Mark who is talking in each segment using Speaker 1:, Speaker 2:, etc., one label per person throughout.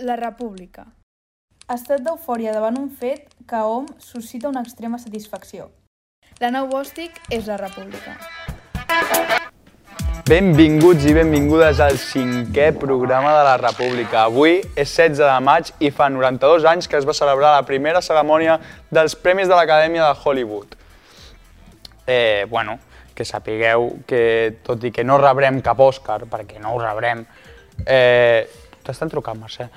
Speaker 1: La República. Estat d'eufòria davant un fet que a hom suscita una extrema satisfacció. La nau bòstic és la República.
Speaker 2: Benvinguts i benvingudes al cinquè programa de la República. Avui és 16 de maig i fa 92 anys que es va celebrar la primera cerimònia dels Premis de l'Acadèmia de Hollywood. Eh, bueno, que sapigueu que, tot i que no rebrem cap Òscar, perquè no ho rebrem, eh, t'estan trucant, Mercè.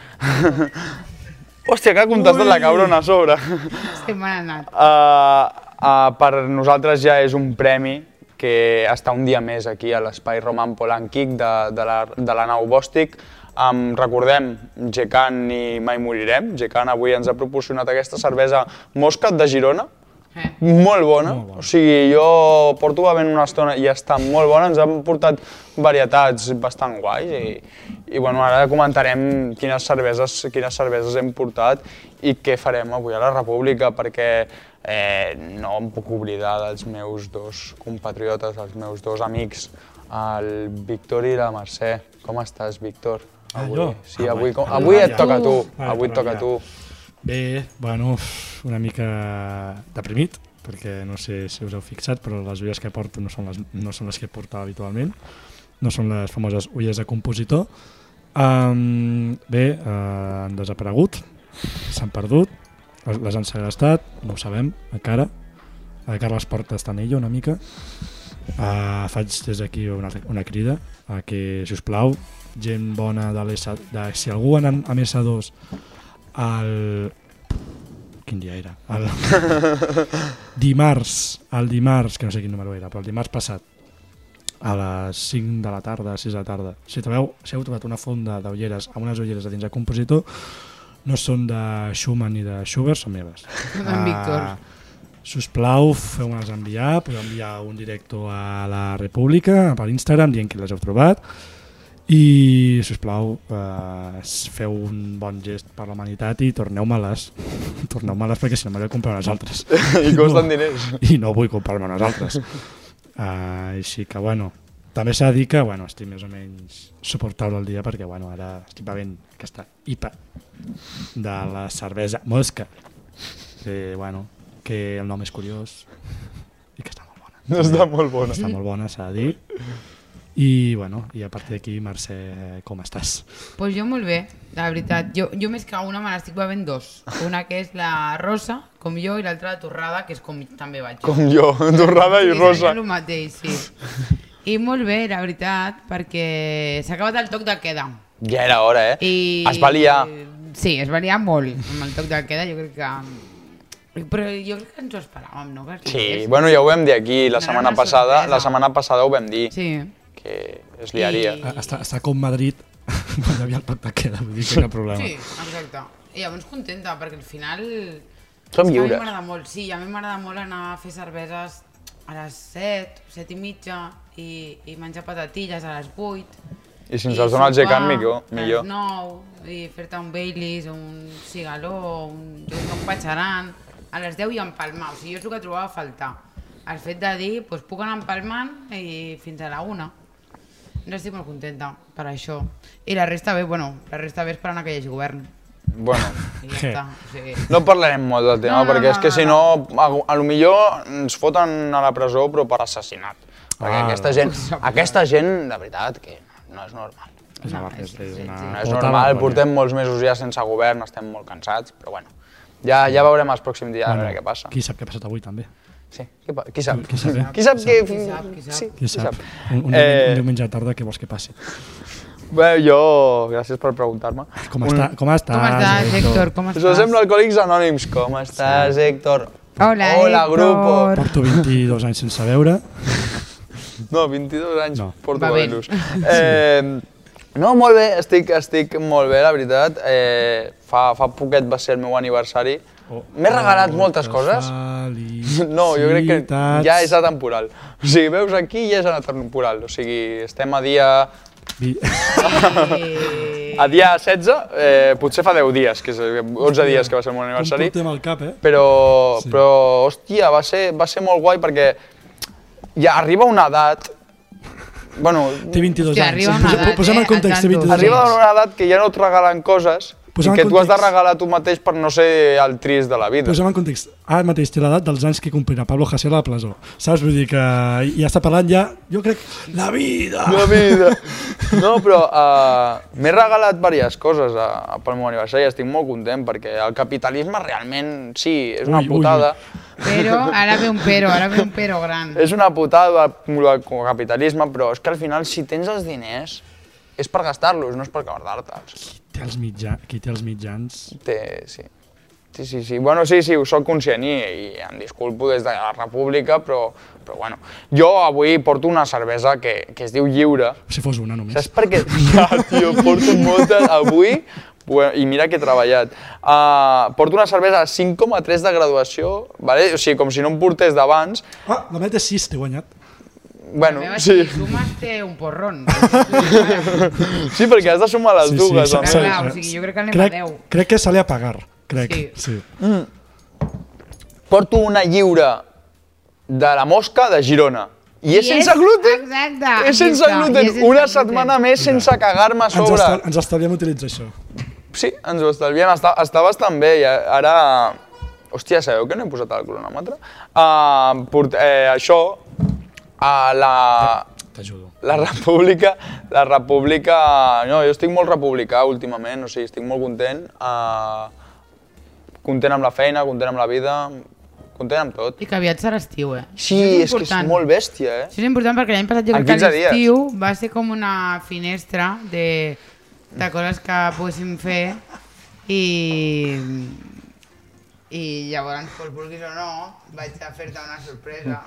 Speaker 2: Hòstia, que ha contestat la cabrona a sobre.
Speaker 3: Que m'han anat.
Speaker 2: Uh, uh, per nosaltres ja és un premi que està un dia més aquí a l'espai Roman Polanquic de, de, la, de la nau Bòstic. Um, recordem, Gecan i Mai Morirem. Gecan avui ens ha proporcionat aquesta cervesa Moscat de Girona,
Speaker 3: Eh.
Speaker 2: molt bona. molt bona. O sigui, jo porto bevent una estona i està molt bona. Ens han portat varietats bastant guais i, i bueno, ara comentarem quines cerveses, quines cerveses hem portat i què farem avui a la República perquè eh, no em puc oblidar dels meus dos compatriotes, dels meus dos amics, el Víctor i la Mercè. Com estàs, Víctor?
Speaker 4: Ah,
Speaker 2: Avui,
Speaker 4: jo?
Speaker 2: sí,
Speaker 4: Ah,
Speaker 2: avui,
Speaker 4: vaja.
Speaker 2: com, avui et
Speaker 4: Vaja.
Speaker 2: toca a tu.
Speaker 4: Vale,
Speaker 2: Avui et
Speaker 4: però
Speaker 2: toca a
Speaker 4: mira.
Speaker 2: tu.
Speaker 4: Bé, bueno, uf, una mica deprimit, perquè no sé si us heu fixat, però les ulles que porto no són les, no són les que portava habitualment, no són les famoses ulles de compositor. Um, bé, uh, han desaparegut, s'han perdut, les- les han segrestat, no ho sabem encara. Uh, Carles Porta està en ella una mica. Uh, faig des d'aquí una, una crida a que, si us plau, gent bona de l'ESA... De, si algú anant a mesa 2 el... Quin dia era? El... dimarts, el dimarts, que no sé quin número era, però el dimarts passat, a les 5 de la tarda, 6 de la tarda, si trobeu, si heu trobat una fonda d'ulleres amb unes ulleres de dins de compositor, no són de Schumann ni de Schubert, són meves. Ah,
Speaker 3: Són d'en Víctor.
Speaker 4: Si us plau, feu-me-les enviar, podeu enviar un directo a la República per Instagram dient que les heu trobat i, si us plau, eh, feu un bon gest per la humanitat i torneu-me-les. Torneu-me-les perquè si no m'hauré de comprar unes altres.
Speaker 2: I costen diners.
Speaker 4: I no vull comprar-me unes altres. Uh, així que, bueno, també s'ha de dir que bueno, estic més o menys suportable al dia perquè bueno, ara estic bevent aquesta IPA de la cervesa Mosca. Que, bueno, que el nom és curiós i que està molt bona.
Speaker 2: No està molt bona.
Speaker 4: Està molt bona, s'ha de dir. I, bueno, i a partir d'aquí, Mercè, com estàs?
Speaker 3: pues jo molt bé, la veritat. Jo, jo més que una me n'estic bevent dos. Una que és la rosa, com jo, i l'altra la torrada, que és com també vaig jo.
Speaker 2: Com jo, torrada i
Speaker 3: Sí,
Speaker 2: rosa.
Speaker 3: és El mateix, sí. I molt bé, la veritat, perquè s'ha acabat el toc de queda.
Speaker 2: Ja era hora, eh?
Speaker 3: I...
Speaker 2: Es va liar.
Speaker 3: Sí, es va liar molt amb el toc de queda, jo crec que... Però jo crec que ens ho esperàvem, no? Que es
Speaker 2: Sí,
Speaker 3: liés.
Speaker 2: bueno, ja ho vam dir aquí la
Speaker 3: No era
Speaker 2: setmana
Speaker 3: una
Speaker 2: passada, la
Speaker 3: sorpresa.
Speaker 2: setmana passada ho vam dir,
Speaker 3: Sí.
Speaker 2: que es liaria.
Speaker 3: I-
Speaker 4: Ah, Està, està com Madrid quan hi havia el pacte queda, vull dir que no hi ha problema.
Speaker 3: Sí, exacte. I llavors contenta, perquè al final...
Speaker 2: Som
Speaker 3: És que
Speaker 2: lliures.
Speaker 3: A mi m'agrada molt, sí, a mi m'agrada molt anar a fer cerveses a les 7, 7 i mitja, i, i menjar patatilles a les 8.
Speaker 2: I si ens els dona el gegant, millor.
Speaker 3: A les
Speaker 2: millor.
Speaker 3: 9, i fer-te un Baileys, un cigaló, un, jo què sé, un patxaran. A les 10 i empalmar, o sigui, jo és el que trobava a faltar. El fet de dir, doncs puc anar empalmant i fins a la una. No estic molt contenta per això. I la resta bé, bueno, la resta bé esperant a que hi hagi govern.
Speaker 2: Bueno,
Speaker 3: I ja
Speaker 4: Sí.
Speaker 3: està. O sigui,
Speaker 2: no parlarem molt del tema,
Speaker 3: No, no,
Speaker 2: perquè és
Speaker 3: no,
Speaker 2: que
Speaker 3: no,
Speaker 2: si no, a, a lo millor ens foten a la presó, però per assassinat. Perquè
Speaker 4: Ah,
Speaker 2: aquesta
Speaker 4: no.
Speaker 2: gent, aquesta gent, de veritat, que no és normal.
Speaker 4: És,
Speaker 3: No,
Speaker 4: una,
Speaker 3: és-
Speaker 4: és, és, una...
Speaker 3: sí, sí.
Speaker 2: No és
Speaker 4: puta
Speaker 2: normal,
Speaker 4: vergonya.
Speaker 2: portem molts mesos ja sense govern, estem molt cansats, però bueno. Ja, ja veurem els pròxims dies a veure què passa.
Speaker 4: Qui sap què ha passat avui, també.
Speaker 2: Sí, qui, pa- qui sap?
Speaker 4: Qui sap, eh?
Speaker 2: Qui sap que...
Speaker 3: Qui sap, qui sap.
Speaker 2: Sí,
Speaker 4: Qui sap? Un, un,
Speaker 2: Eh,
Speaker 4: eh... un diumenge a la tarda, què vols que passi?
Speaker 2: Bé, jo... Gràcies per preguntar-me.
Speaker 4: Com, està, com estàs,
Speaker 3: Com estàs, Héctor? Com
Speaker 2: Us
Speaker 3: estàs?
Speaker 2: sembla Alcohòlics Anònims. Com estàs, Héctor?
Speaker 3: Hola,
Speaker 2: Hola,
Speaker 3: Héctor.
Speaker 2: grupo.
Speaker 4: Porto 22 anys sense veure.
Speaker 2: No, 22 anys,
Speaker 4: No.
Speaker 2: porto
Speaker 3: Va bé.
Speaker 2: Venus. Eh, no, molt bé, estic, estic molt bé, la veritat. Eh, fa, fa poquet va ser el meu aniversari.
Speaker 4: Oh,
Speaker 2: M'he regalat moltes coses. No, jo crec que ja és atemporal. O sigui, veus aquí ja és atemporal. O sigui, estem a dia,
Speaker 4: Vi...
Speaker 3: Sí.
Speaker 2: a dia 16, eh, potser fa 10 dies, que és 11 dies que va ser el meu aniversari.
Speaker 4: Com portem al cap, eh?
Speaker 2: però,
Speaker 4: Sí.
Speaker 2: però hòstia, va ser, va ser molt guai perquè ja arriba una edat, bueno,
Speaker 4: Té 22
Speaker 3: Hòstia,
Speaker 4: anys.
Speaker 3: arriba una
Speaker 4: Posa-
Speaker 3: edat,
Speaker 4: Posem
Speaker 3: eh,
Speaker 4: en context, té
Speaker 3: al tanto.
Speaker 4: 22
Speaker 2: arriba
Speaker 4: anys.
Speaker 2: una edat que ja no et regalen coses I que tu has de regalar a tu mateix per no ser el trist de la vida.
Speaker 4: Posem en context, ara mateix té l'edat dels anys que complirà Pablo Hasél a la presó. Saps? Vull dir que ja està parlant ja, jo crec, la vida!
Speaker 2: La vida! No, però uh, m'he regalat diverses coses a, a, pel meu aniversari i estic molt content perquè el capitalisme realment, sí, és una
Speaker 4: Ui, ui,
Speaker 2: putada.
Speaker 3: Però, ara ve un pero, ara ve un pero gran.
Speaker 2: És una putada el el capitalisme, però és que al final si tens els diners és per gastar-los, no és per guardar-te'ls.
Speaker 4: Té els mitja, qui té els mitjans...
Speaker 2: Té, sí. Sí, sí, sí. Bueno, sí, sí, ho soc conscient i, i em disculpo des de la república, però, però bueno. Jo avui porto una cervesa que, que es diu Lliure.
Speaker 4: Si fos una només.
Speaker 2: Saps per què? Ja, tio, porto moltes avui, bueno, i mira que he treballat. Uh, porto una cervesa 5,3 de graduació, vale? o sigui, com si no em portés d'abans.
Speaker 4: Ah, la meta és 6, t'he guanyat.
Speaker 3: La
Speaker 2: Bueno,
Speaker 3: meva,
Speaker 2: sí.
Speaker 3: Si sumes té un porrón.
Speaker 2: Sí, perquè has de sumar les dues.
Speaker 4: sa-
Speaker 2: home.
Speaker 4: sa-
Speaker 3: Clar, Ah, o sigui, jo crec que anem a
Speaker 4: crec,
Speaker 3: 10.
Speaker 4: Crec que se li ha pagar, crec.
Speaker 3: Sí.
Speaker 4: Sí.
Speaker 2: Porto una lliure de la mosca de Girona. I és
Speaker 3: I
Speaker 2: sense
Speaker 3: és-
Speaker 2: gluten!
Speaker 3: exacte,
Speaker 2: és sense
Speaker 3: exacte, i
Speaker 2: gluten!
Speaker 3: és sense
Speaker 2: Una
Speaker 3: gluten.
Speaker 2: setmana més sense cagar-me a
Speaker 4: Ens,
Speaker 2: sobre.
Speaker 4: estal, ens estalviem utilitzar això.
Speaker 2: Sí, ens ho estalviem. Està, està bastant bé. I ara... Hòstia, sabeu que no he posat el cronòmetre? Uh, port, eh, això, a la...
Speaker 4: T'ajudo.
Speaker 2: La república, la república... No, jo estic molt republicà últimament, o sigui, estic molt content. Uh, content amb la feina, content amb la vida, content amb tot.
Speaker 3: I que aviat serà estiu, eh?
Speaker 2: Sí,
Speaker 3: Això
Speaker 2: és, que és
Speaker 3: important.
Speaker 2: molt bèstia, eh?
Speaker 3: Això és important perquè l'any passat jo
Speaker 2: En
Speaker 3: crec que
Speaker 2: 15 dies.
Speaker 3: l'estiu va ser com una finestra de, de coses que poguéssim fer i, i llavors, pues, vulguis o no, vaig a fer-te una sorpresa.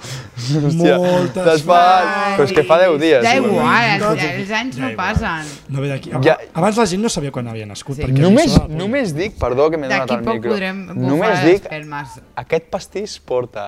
Speaker 4: Moltes
Speaker 2: te'ls fa...
Speaker 4: gràcies.
Speaker 2: Però és que fa 10 dies.
Speaker 3: Da
Speaker 2: segurament.
Speaker 3: igual,
Speaker 4: No,
Speaker 3: els, els anys no passen.
Speaker 4: No ve d'aquí.
Speaker 2: Ja-
Speaker 4: Ja. Abans la gent no sabia quan havia nascut.
Speaker 3: Sí.
Speaker 4: Sí. Perquè
Speaker 2: Només,
Speaker 4: això-
Speaker 2: només dic, perdó que m'he donat
Speaker 3: D'aquí
Speaker 2: el
Speaker 3: poc
Speaker 2: micro,
Speaker 3: podrem bufar
Speaker 2: només
Speaker 3: les
Speaker 2: dic,
Speaker 3: espelmes.
Speaker 2: aquest pastís porta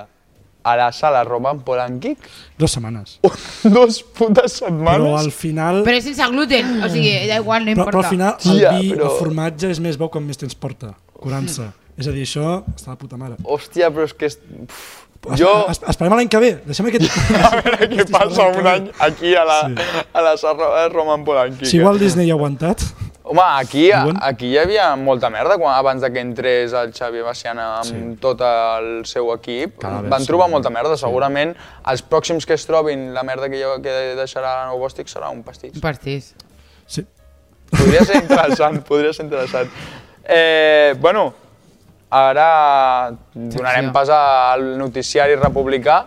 Speaker 2: a la sala Roman Polanquic
Speaker 4: Dues setmanes.
Speaker 2: dos putes
Speaker 4: Però al
Speaker 2: setmanes.
Speaker 4: final...
Speaker 3: Però és sense gluten, o sigui, da igual, no importa.
Speaker 4: Però, però al final
Speaker 2: Tia,
Speaker 4: el vi,
Speaker 2: però-
Speaker 4: el formatge és més bo quan més temps porta,
Speaker 3: Mm.
Speaker 4: curant-se. És a dir, això està de puta mare.
Speaker 2: Hòstia, però és que... és- Uf, jo...
Speaker 4: Jo... Esperem l'any que ve. Deixem aquest...
Speaker 2: A veure què passa un any aquí a la,
Speaker 4: Sí.
Speaker 2: a la sala Roman Polanquic.
Speaker 4: Si igual Disney ha aguantat,
Speaker 2: Home, aquí,
Speaker 4: Diuen?
Speaker 2: aquí hi havia molta merda quan, abans de que entrés el Xavier Bassiana amb sí. tot el seu equip.
Speaker 4: Cadàvers,
Speaker 2: Van trobar
Speaker 4: sí.
Speaker 2: molta merda. Segurament els pròxims que es trobin la merda que, jo, que deixarà la Nou Bòstic serà un pastís.
Speaker 3: Un pastís.
Speaker 4: sí.
Speaker 2: Podria ser interessant, podria ser interessant. Eh, bueno, ara donarem pas al noticiari republicà.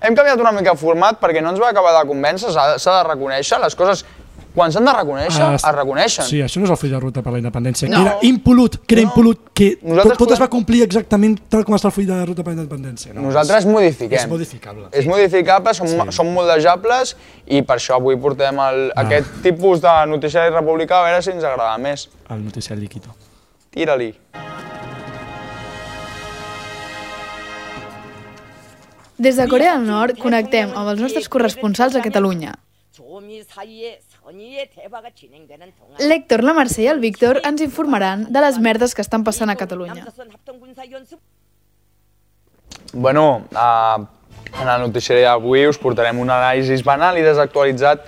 Speaker 2: Hem canviat una mica el format perquè no ens va acabar de convèncer, s'ha s'ha de reconèixer, les coses quan s'han de reconèixer,
Speaker 4: Ah,
Speaker 2: es reconeixen.
Speaker 4: Sí, això no és el full de ruta per la independència, que
Speaker 3: No.
Speaker 4: era impolut, que era impolut, que
Speaker 2: Nosaltres
Speaker 4: tot, tot es va
Speaker 2: podem-
Speaker 4: complir exactament tal com està el full de ruta per la independència. No,
Speaker 2: Nosaltres modifiquem.
Speaker 4: és modificable.
Speaker 2: És modificable, som, sí. som moldejables i per això avui portem el,
Speaker 4: Ah.
Speaker 2: aquest tipus de noticiari republicà a veure si ens agrada més.
Speaker 4: El noticiari líquido.
Speaker 2: Tira-li.
Speaker 1: Des de Corea del Nord connectem amb els nostres corresponsals a Catalunya.
Speaker 5: 조미 사이에 선의의 대화가 진행되는 동안
Speaker 1: L'Hèctor, la Mercè i el Víctor ens informaran de les merdes que estan passant a Catalunya.
Speaker 5: 남조선 합동 군사 연습
Speaker 2: Bueno, eh, en el noticiari d'avui us portarem un anàlisi banal i desactualitzat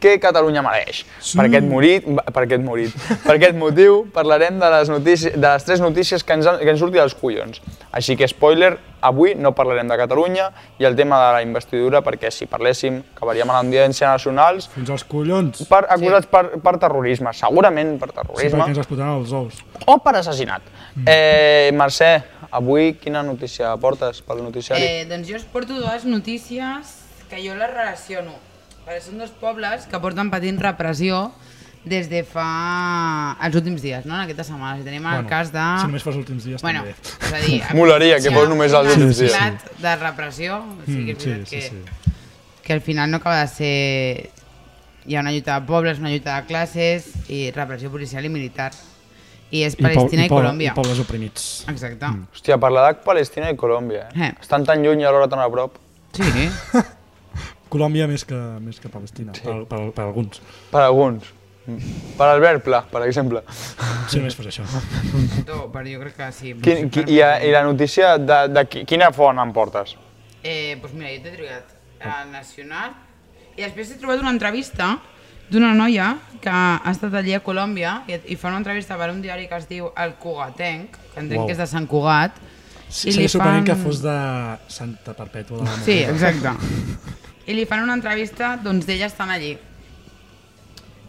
Speaker 2: que Catalunya mereix.
Speaker 4: Sí.
Speaker 2: Per aquest morit, per aquest morit, per aquest motiu parlarem de les, notícies, de les tres notícies que ens, han, que ens surti dels collons. Així que, spoiler, avui no parlarem de Catalunya i el tema de la investidura perquè si parléssim acabaríem a l'Audiència Nacional
Speaker 4: Fins als collons.
Speaker 2: per acusats sí. per, per terrorisme, segurament per
Speaker 4: Sí, perquè Mm.
Speaker 2: terrorisme,
Speaker 4: ens explotaran els ous.
Speaker 2: o per assassinat. Eh, Mercè, avui quina notícia portes pel noticiari?
Speaker 3: Eh, doncs jo us porto dues notícies que jo les relaciono, perquè són dos pobles que porten patint repressió des de fa... els últims dies, no? En aquesta setmana. Si tenim el cas de...
Speaker 4: Si només fos els últims dies,
Speaker 3: Bueno,
Speaker 4: també.
Speaker 3: és a dir...
Speaker 2: Molaria que
Speaker 3: hi ha
Speaker 2: fos només els
Speaker 3: un
Speaker 2: últims dies.
Speaker 3: esclat de repressió, o sigui, que,
Speaker 4: Mm,
Speaker 3: és sí, sí, que, que al final no acaba de ser... Hi ha una lluita de pobles, una lluita de classes i repressió policial i militar. I és Palestina i,
Speaker 4: poble- Mm.
Speaker 3: Colòmbia.
Speaker 4: I pobles oprimits.
Speaker 3: Exacte.
Speaker 2: Hòstia, parlar de Palestina i Colòmbia, eh?
Speaker 3: Eh.
Speaker 2: Estan tan lluny i alhora tan a prop.
Speaker 3: Sí.
Speaker 4: Colòmbia més que, més que Palestina, sí. per, per, per alguns.
Speaker 2: Per alguns. Per Albert Pla, per exemple.
Speaker 4: Si només fos això.
Speaker 3: No, però jo crec que sí.
Speaker 2: Quin, qui, i, a- I la notícia de, de qui- quina font em portes?
Speaker 3: Eh, doncs mira, jo t'he triat el Nacional i després he trobat una entrevista d'una noia que ha estat allí a Colòmbia i, i fa una entrevista per un diari que es diu El Cugatenc, que entenc
Speaker 4: Uau.
Speaker 3: que és de Sant Cugat. i
Speaker 4: Sí, seria
Speaker 3: li
Speaker 4: sorprenent
Speaker 3: fan-
Speaker 4: que fos de Santa Perpètua. De la
Speaker 3: Sí,
Speaker 4: Moguda.
Speaker 3: exacte. I li fan una entrevista, doncs d'ella estan allí.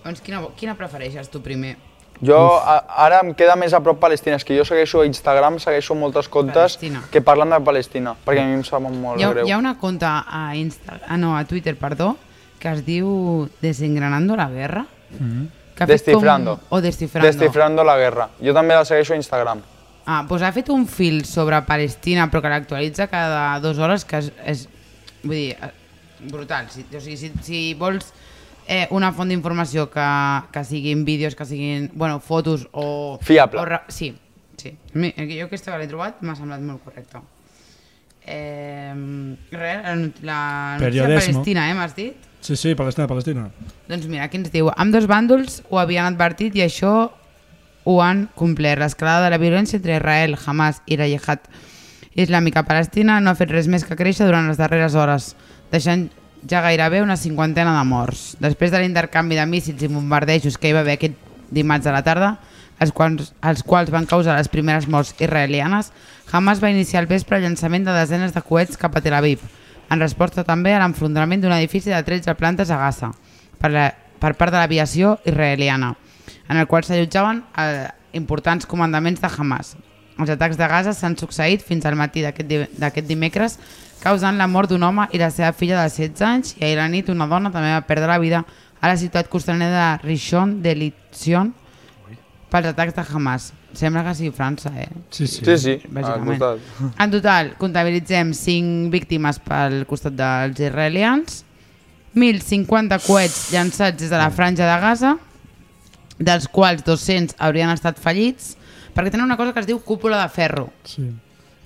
Speaker 3: Doncs quina, vo- quina prefereixes tu primer?
Speaker 2: Jo a, ara em queda més a prop Palestina, és que jo segueixo a Instagram, segueixo moltes comptes
Speaker 3: Palestina.
Speaker 2: que parlen de Palestina, perquè a mi em sap molt
Speaker 3: Hi ha,
Speaker 2: greu.
Speaker 3: hi ha una conta a, Insta, ah, no, a Twitter, perdó, que es diu Desengranando la guerra. Mm -hmm.
Speaker 4: Mm-hmm.
Speaker 3: que ha fet
Speaker 2: Descifrando.
Speaker 3: Com, o Descifrando.
Speaker 2: Descifrando la guerra. Jo també la segueixo a Instagram.
Speaker 3: Ah, doncs ha fet un fil sobre Palestina, però que l'actualitza cada dues hores, que és, és vull dir, eh, brutal. Si, o sigui, si, si vols eh, una font d'informació que, que siguin vídeos, que siguin, bueno, fotos o...
Speaker 2: Fiable.
Speaker 3: O, ra- sí, sí. A mi, eh, jo aquesta que l'he trobat m'ha semblat molt correcte. Eh, res, la, not- la notícia
Speaker 4: Periodismo.
Speaker 3: palestina, eh, m'has dit?
Speaker 4: Sí, sí, Palestina, Palestina.
Speaker 3: Doncs mira, aquí ens diu, amb dos bàndols ho havien advertit i això ho han complert. L'escalada de la violència entre Israel, Hamas i la Jihad islàmica palestina no ha fet res més que créixer durant les darreres hores, deixant ja gairebé una cinquantena de morts. Després de l'intercanvi de míssils i bombardejos que hi va haver aquest dimarts a la tarda, els quals, els quals van causar les primeres morts israelianes, Hamas va iniciar el vespre el llançament de desenes de coets cap a Tel Aviv, en resposta també a l'enfrontament d'un edifici de 13 plantes a Gaza per, la, per part de l'aviació israeliana, en el qual s'allotjaven eh, importants comandaments de Hamas. Els atacs de Gaza s'han succeït fins al matí d'aquest di- d'aquest dimecres, causant la mort d'un home i la seva filla de 16 anys, i ahir a la nit una dona també va perdre la vida a la ciutat costanera de Rishon de Litzion pels atacs de Hamas. Sembla que sigui França, eh?
Speaker 4: Sí, sí.
Speaker 2: Sí, sí, al
Speaker 3: Bàsicament.
Speaker 2: costat.
Speaker 3: En total, comptabilitzem 5 víctimes pel costat dels israelians, 1.050 coets llançats des de la franja de Gaza, dels quals 200 haurien estat fallits, perquè tenen una cosa que es diu cúpula de ferro,
Speaker 4: sí.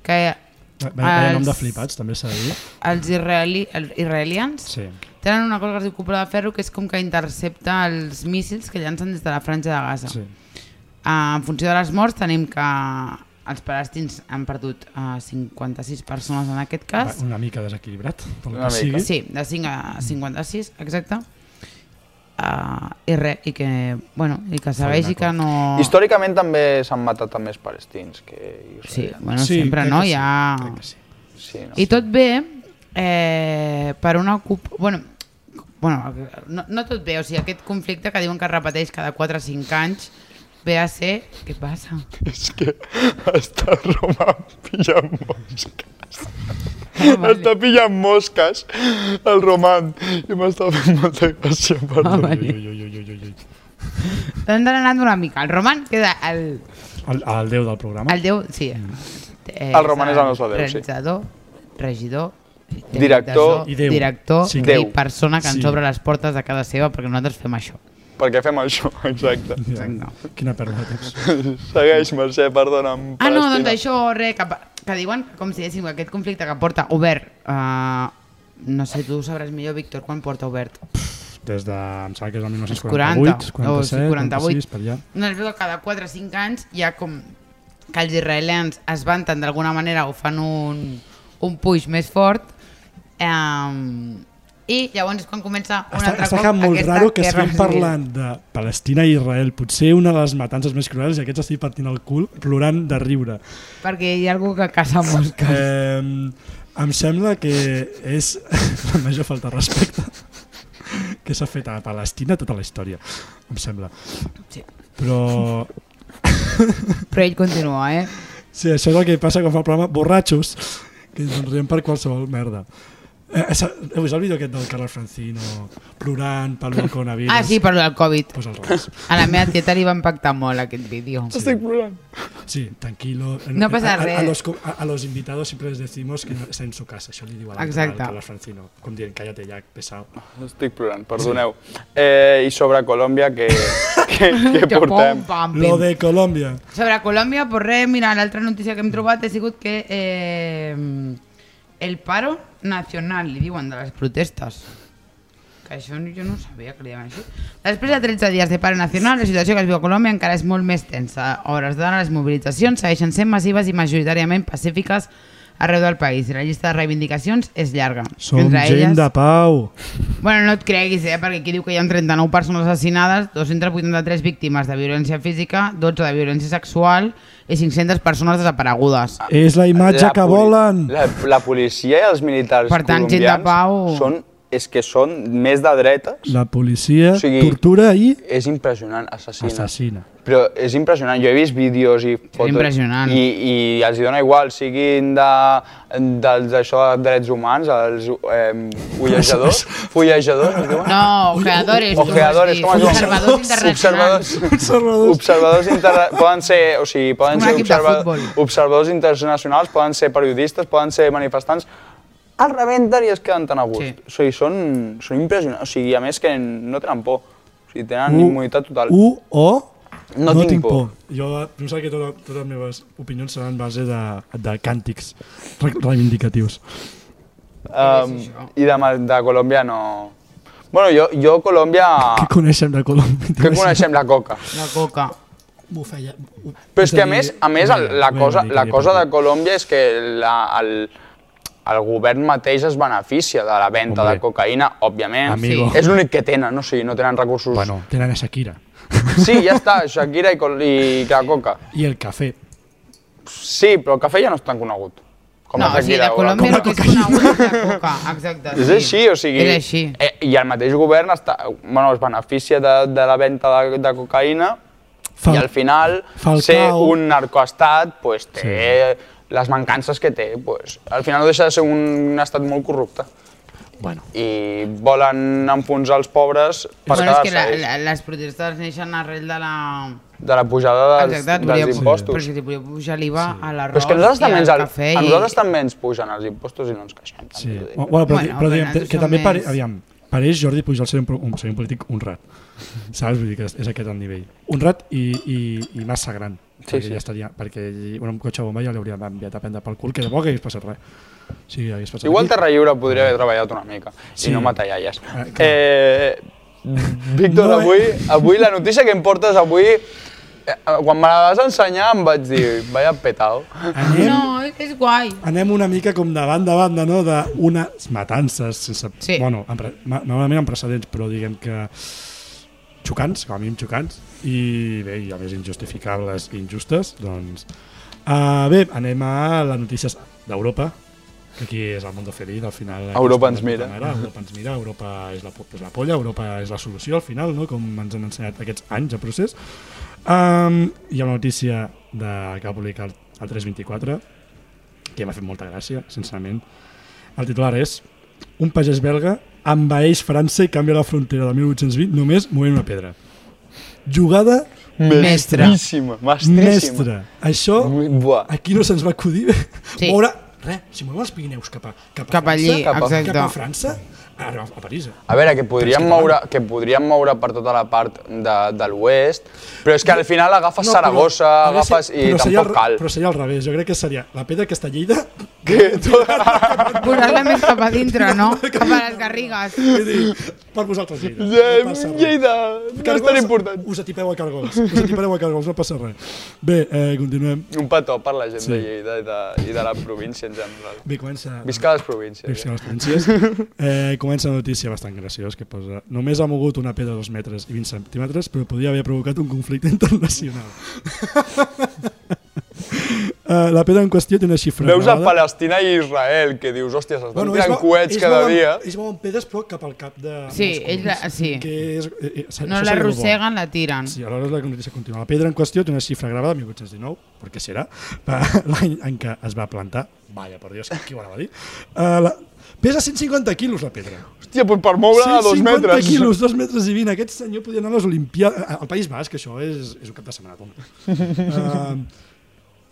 Speaker 3: que
Speaker 4: Va, va, vaya nom
Speaker 3: Els-
Speaker 4: de flipats, també s'ha de dir.
Speaker 3: els, israeli, els israelians
Speaker 4: Sí.
Speaker 3: tenen una cosa que es diu cúpula de ferro, que és com que intercepta els míssils que llancen des de la franja de Gaza.
Speaker 4: sí.
Speaker 3: Ah, En funció de les morts tenim que els palestins han perdut eh, 56 persones en aquest
Speaker 4: Va,
Speaker 3: cas.
Speaker 4: una mica desequilibrat, pel
Speaker 2: Una
Speaker 4: que sigui.
Speaker 2: mica.
Speaker 3: Sí, de 5 a 56, exacte. Uh, I res, i que, bueno, i que segueix i que no...
Speaker 2: Històricament també s'han matat a més palestins que
Speaker 3: Sí,
Speaker 2: israelians.
Speaker 3: bueno, sí, sempre,
Speaker 4: crec
Speaker 3: no?
Speaker 4: que sí,
Speaker 3: Hi ha...
Speaker 4: crec que sí.
Speaker 2: Sí, no?
Speaker 3: I tot bé eh, per una... ocup- Bueno, bueno no, no tot bé, o sigui, aquest conflicte que diuen que es repeteix cada 4 o 5 anys ve a ser... Què passa?
Speaker 2: És que està Roma pillant mosques.
Speaker 3: Ah, vale.
Speaker 2: Està pillant mosques, el Roman. I m'està fent molta gràcia, perdó.
Speaker 3: Ah, vale.
Speaker 4: Ui, ui, ui, ui, ui, ui.
Speaker 3: T'han d'anar una mica. El Roman queda el,
Speaker 4: El, el déu del programa.
Speaker 3: el Déu... Sí.
Speaker 4: Mm.
Speaker 3: Eh,
Speaker 2: El Roman és el nostre Déu, sí.
Speaker 3: Realitzador, regidor, tècnic de
Speaker 2: Director.
Speaker 3: so,
Speaker 4: I Déu.
Speaker 3: director
Speaker 4: Sí.
Speaker 2: Déu.
Speaker 3: i persona que ens
Speaker 4: Sí.
Speaker 3: obre les portes de casa seva perquè nosaltres fem això.
Speaker 2: Per què fem això? Exacte.
Speaker 3: Exacte.
Speaker 4: Quina pèrdua de temps.
Speaker 2: Segueix, Mercè, perdona'm.
Speaker 3: Ah, no,
Speaker 2: Palestina.
Speaker 3: doncs això, re, que, pa- que diuen que com si diguéssim que aquest conflicte que porta obert... Eh, no sé, tu ho sabràs millor, Víctor, quan porta obert.
Speaker 4: Des de, em sembla que és el
Speaker 3: 40,
Speaker 4: 1948, 47,
Speaker 3: o
Speaker 4: 46, per allà.
Speaker 3: No, es veu que cada 4 o 5 anys hi ha com que els israelians es vanten d'alguna manera o fan un, un puix més fort um, i llavors és quan comença un
Speaker 4: Està,
Speaker 3: altre
Speaker 4: està
Speaker 3: cop
Speaker 4: quedant molt
Speaker 3: aquesta
Speaker 4: raro que
Speaker 3: guerra
Speaker 4: estiguem
Speaker 3: civil.
Speaker 4: parlant de Palestina i Israel, potser una de les matances més cruels, i aquests estic partint el cul plorant de riure.
Speaker 3: perquè hi ha algú que caça mosques
Speaker 4: Eh, em sembla que és la major falta de respecte que s'ha fet a Palestina tota la història, em sembla.
Speaker 3: Sí.
Speaker 4: Però
Speaker 3: però ell continua eh?
Speaker 4: Sí, això és el que passa quan fa el programa Borratxos, que ens en riem per qualsevol merda. Eh, és- heu vist el vídeo aquest del Carles Francino plorant pel coronavirus?
Speaker 3: ah sí, parlo del Covid
Speaker 4: Pues al revés.
Speaker 3: a la meva tieta li va impactar molt aquest vídeo
Speaker 2: Estic plorant.
Speaker 4: Sí, tranquilo.
Speaker 3: No pasa
Speaker 4: a, a, a,
Speaker 3: res.
Speaker 4: los, co- a, a los invitados siempre les decimos que no, está en su casa. Això li diu a l'altre, al
Speaker 3: Exacte.
Speaker 4: Carles Francino. Com dient, cállate ja, pesado.
Speaker 2: Estic plorant, perdoneu. Eh, I sobre Colòmbia, que, que, que
Speaker 3: Jo,
Speaker 2: portem?
Speaker 3: pum, pam, pim.
Speaker 4: Lo de Colòmbia.
Speaker 3: Sobre Colòmbia, pues res, mira, l'altra notícia que hem trobat ha sigut que eh, el paro nacional, li diuen, de les protestes. Que això no- jo no ho sabia que li deien així. Després de 13 dies de paro nacional, la situació que es viu a Colòmbia encara és molt més tensa. A hores d'ara, les mobilitzacions segueixen sent massives i majoritàriament pacífiques arreu del país. La llista de reivindicacions és llarga.
Speaker 4: Som gent de pau.
Speaker 3: Bueno, no et creguis, eh? perquè aquí diu que hi ha 39 persones assassinades, 283 víctimes de violència física, 12 de violència sexual i 500 persones desaparegudes.
Speaker 2: Ah,
Speaker 4: És la imatge que
Speaker 2: poli-
Speaker 4: volen.
Speaker 2: La, la policia i els militars
Speaker 3: Per tant, gent de
Speaker 2: colombians
Speaker 3: pau.
Speaker 2: són, és que són més de dretes.
Speaker 4: La policia
Speaker 2: O sigui-
Speaker 4: tortura i
Speaker 2: És impressionant, assassina.
Speaker 4: assassina.
Speaker 2: Però és impressionant, jo he vist vídeos i fotos.
Speaker 3: impressionant.
Speaker 2: I, i els hi dona igual, siguin de, dels, això, de drets humans, els eh, fullejadors, fullejadors, es diuen?
Speaker 3: No, ojeadores.
Speaker 2: Ojeadores, com
Speaker 3: com
Speaker 2: es diu?
Speaker 3: Observadors internacionals.
Speaker 2: Observadors. Observadors interna... poden ser, o sigui, poden
Speaker 3: Un
Speaker 2: ser
Speaker 3: equip de
Speaker 2: observa-
Speaker 3: futbol.
Speaker 2: observadors internacionals, poden ser periodistes, poden ser manifestants, els rebenten i es queden tan a gust.
Speaker 3: Sí.
Speaker 2: O sigui, són, són impressionants. O sigui, a més que no tenen por. O sigui, tenen immunitat total.
Speaker 4: U o
Speaker 2: Uh, No tinc por.
Speaker 4: Jo pensava que totes totes les meves opinions seran en base de, de càntics re- reivindicatius.
Speaker 2: Um, I de, Mal- de Colòmbia no... Bueno, jo, jo Colòmbia...
Speaker 4: Què coneixem de Colòmbia?
Speaker 2: Ah. Que coneixem la coca.
Speaker 3: La coca.
Speaker 4: M'ho feia...
Speaker 2: Però és que a més, a més el- la, cosa, la cosa de Colòmbia és que la, el, el govern mateix es beneficia de la venda
Speaker 4: Hombre.
Speaker 2: de cocaïna, òbviament.
Speaker 4: Amigo.
Speaker 2: Sí. És l'únic que tenen, no? O sigui, no tenen recursos.
Speaker 4: Bueno, tenen a Shakira.
Speaker 2: Sí, ja està, Shakira i, col- i la coca.
Speaker 4: I el cafè.
Speaker 2: Sí, però el cafè ja no és tan conegut. Com
Speaker 3: No,
Speaker 2: la
Speaker 3: o sigui,
Speaker 2: Shakira o
Speaker 3: de
Speaker 2: la
Speaker 3: Colòmbia
Speaker 2: coca.
Speaker 3: el que és conegut és la coca, exacte.
Speaker 2: És
Speaker 3: sí.
Speaker 2: així, o sigui...
Speaker 3: És així.
Speaker 2: Eh, I el mateix govern està, bueno, es beneficia de, de la venda de, de cocaïna
Speaker 4: Fal-
Speaker 2: i al final
Speaker 4: Falcao.
Speaker 2: ser un narcoestat pues, té les mancances que té. Pues, al final no deixa de ser un, un estat molt corrupte
Speaker 4: Bueno.
Speaker 2: i volen enfonsar els pobres per
Speaker 3: Bueno, és que
Speaker 2: quedar-se
Speaker 3: la,
Speaker 2: ells,
Speaker 3: la, les protestes neixen arrel de la...
Speaker 2: de la pujada dels,
Speaker 3: Exacte, et volia-
Speaker 2: dels impostos.
Speaker 3: Però si li volia pujar l'IVA a
Speaker 2: Però
Speaker 3: l'arròs
Speaker 2: és que a nosaltres,
Speaker 3: i
Speaker 2: també ens,
Speaker 3: al
Speaker 2: el-
Speaker 3: cafè.
Speaker 2: a
Speaker 3: i-
Speaker 2: nosaltres també ens pugen els impostos i no ens queixem. tant,
Speaker 4: Sí.
Speaker 2: t'ho dic.
Speaker 4: Eh, Bueno, però,
Speaker 3: Bueno,
Speaker 4: però diguem,
Speaker 3: Fernando,
Speaker 4: que
Speaker 3: som
Speaker 4: també pare,
Speaker 3: més-
Speaker 4: aviam, pareix Jordi Pujol ser un, pro- un, ser un polític honrat. Saps? Vull dir que és, és aquest el nivell. Honrat i, i, i massa gran. Sí, perquè
Speaker 2: sí.
Speaker 4: ja estaria, perquè ell- un cotxe bomba ja l'hauria enviat a prendre pel cul, que de bo que hagués passat res. Sí, hagués passat
Speaker 2: Igual
Speaker 4: res.
Speaker 2: Terra Lliure podria haver treballat una mica
Speaker 4: Sí.
Speaker 2: i no matar iaies.
Speaker 4: Ah, clar.
Speaker 2: Eh, Víctor,
Speaker 4: No, eh?
Speaker 2: avui, avui la notícia que em portes avui, eh, quan me la vas ensenyar em vaig dir, vaya petao.
Speaker 4: Anem,
Speaker 3: No, és, és guai.
Speaker 4: anem una mica com de banda a banda, no? D'unes matances sense...
Speaker 3: Sí.
Speaker 4: Bueno, amb, pre- ma- normalment amb precedents, però diguem que xocants, com a mínim xocants, i bé, i a més injustificables i injustes, doncs... Uh, bé, anem a les notícies d'Europa, que aquí és el món feliç, al final... aquí
Speaker 2: Europa
Speaker 4: estem
Speaker 2: ens mira.
Speaker 4: de puta mare, Europa ens mira, Europa és la, po- és la polla, Europa és la solució al final, no? com ens han ensenyat aquests anys de procés. Um, hi ha una notícia de, que va publicar el, el 324, que m'ha fet molta gràcia, sincerament. El titular és Un pagès belga envaeix França i canvia la frontera de 1820 només movent una pedra. Jugada
Speaker 3: Mestre.
Speaker 2: Mestríssima, mestríssima.
Speaker 4: mestra. Això
Speaker 2: Buah.
Speaker 4: aquí no se'ns va acudir
Speaker 3: Sí.
Speaker 4: sí. moure... Res, si movem els Pirineus cap a, cap a
Speaker 3: Cap
Speaker 4: França,
Speaker 3: allí,
Speaker 2: Cap a-
Speaker 3: exacte.
Speaker 4: cap a França, ara a París. eh?
Speaker 2: A veure, que podríem,
Speaker 4: Però és que
Speaker 2: moure, que podríem moure per tota la part de, de l'oest, però és que al final agafes
Speaker 4: No, però-
Speaker 2: Saragossa,
Speaker 4: a veure
Speaker 2: agafes...
Speaker 4: si-
Speaker 2: I
Speaker 4: però seria al
Speaker 2: tampoc
Speaker 4: re-
Speaker 2: cal.
Speaker 4: Però seria al revés, jo crec que seria la pedra que està a Lleida,
Speaker 2: Que tu-
Speaker 3: Posar-la més cap a dintre, no? Cap a les garrigues.
Speaker 4: vull dir, per vosaltres Lleida.
Speaker 2: Eh,
Speaker 4: no passa res.
Speaker 2: Lleida, no és tan
Speaker 4: Cargols,
Speaker 2: important.
Speaker 4: Us atipeu a cargols, us atipareu a cargols, no passa res. Bé, eh, continuem.
Speaker 2: Un petó per la gent de Lleida i de, i de la província en general.
Speaker 4: Bé, comença...
Speaker 2: Visca les províncies.
Speaker 4: Visca les províncies. Eh, comença una notícia bastant graciosa que posa Només ha mogut una pedra de 2 metres i 20 centímetres però podia haver provocat un conflicte internacional. eh, la pedra en qüestió té una xifra
Speaker 2: Veus a
Speaker 4: elevada.
Speaker 2: Palestina i Israel, que dius, hòstia, s'estan bueno,
Speaker 4: ells
Speaker 2: tirant
Speaker 4: va-
Speaker 2: coets
Speaker 4: ells
Speaker 2: cada
Speaker 4: mouen-
Speaker 2: dia.
Speaker 4: Ells mouen pedres però cap al cap de...
Speaker 3: Sí,
Speaker 4: dels
Speaker 3: ells la-
Speaker 4: colons,
Speaker 3: sí.
Speaker 4: Que és, eh, eh, això
Speaker 3: No
Speaker 4: seria
Speaker 3: la
Speaker 4: bo.
Speaker 3: arrosseguen, la tiren.
Speaker 4: Sí, aleshores la notícia continua. La pedra en qüestió té una xifra gravada de 1819, perquè serà, va- l'any en què es va plantar. Vaja, per Dios, qui ho anava a dir? Uh, la... Pesa 150 quilos la pedra.
Speaker 2: Hòstia, pues per moure-la a dos
Speaker 4: 150
Speaker 2: metres.
Speaker 4: quilos, 2 metres i 20. Aquest senyor podia anar a les Olimpiades... Al País Basc, això és, és un cap de setmana. Tom. Uh,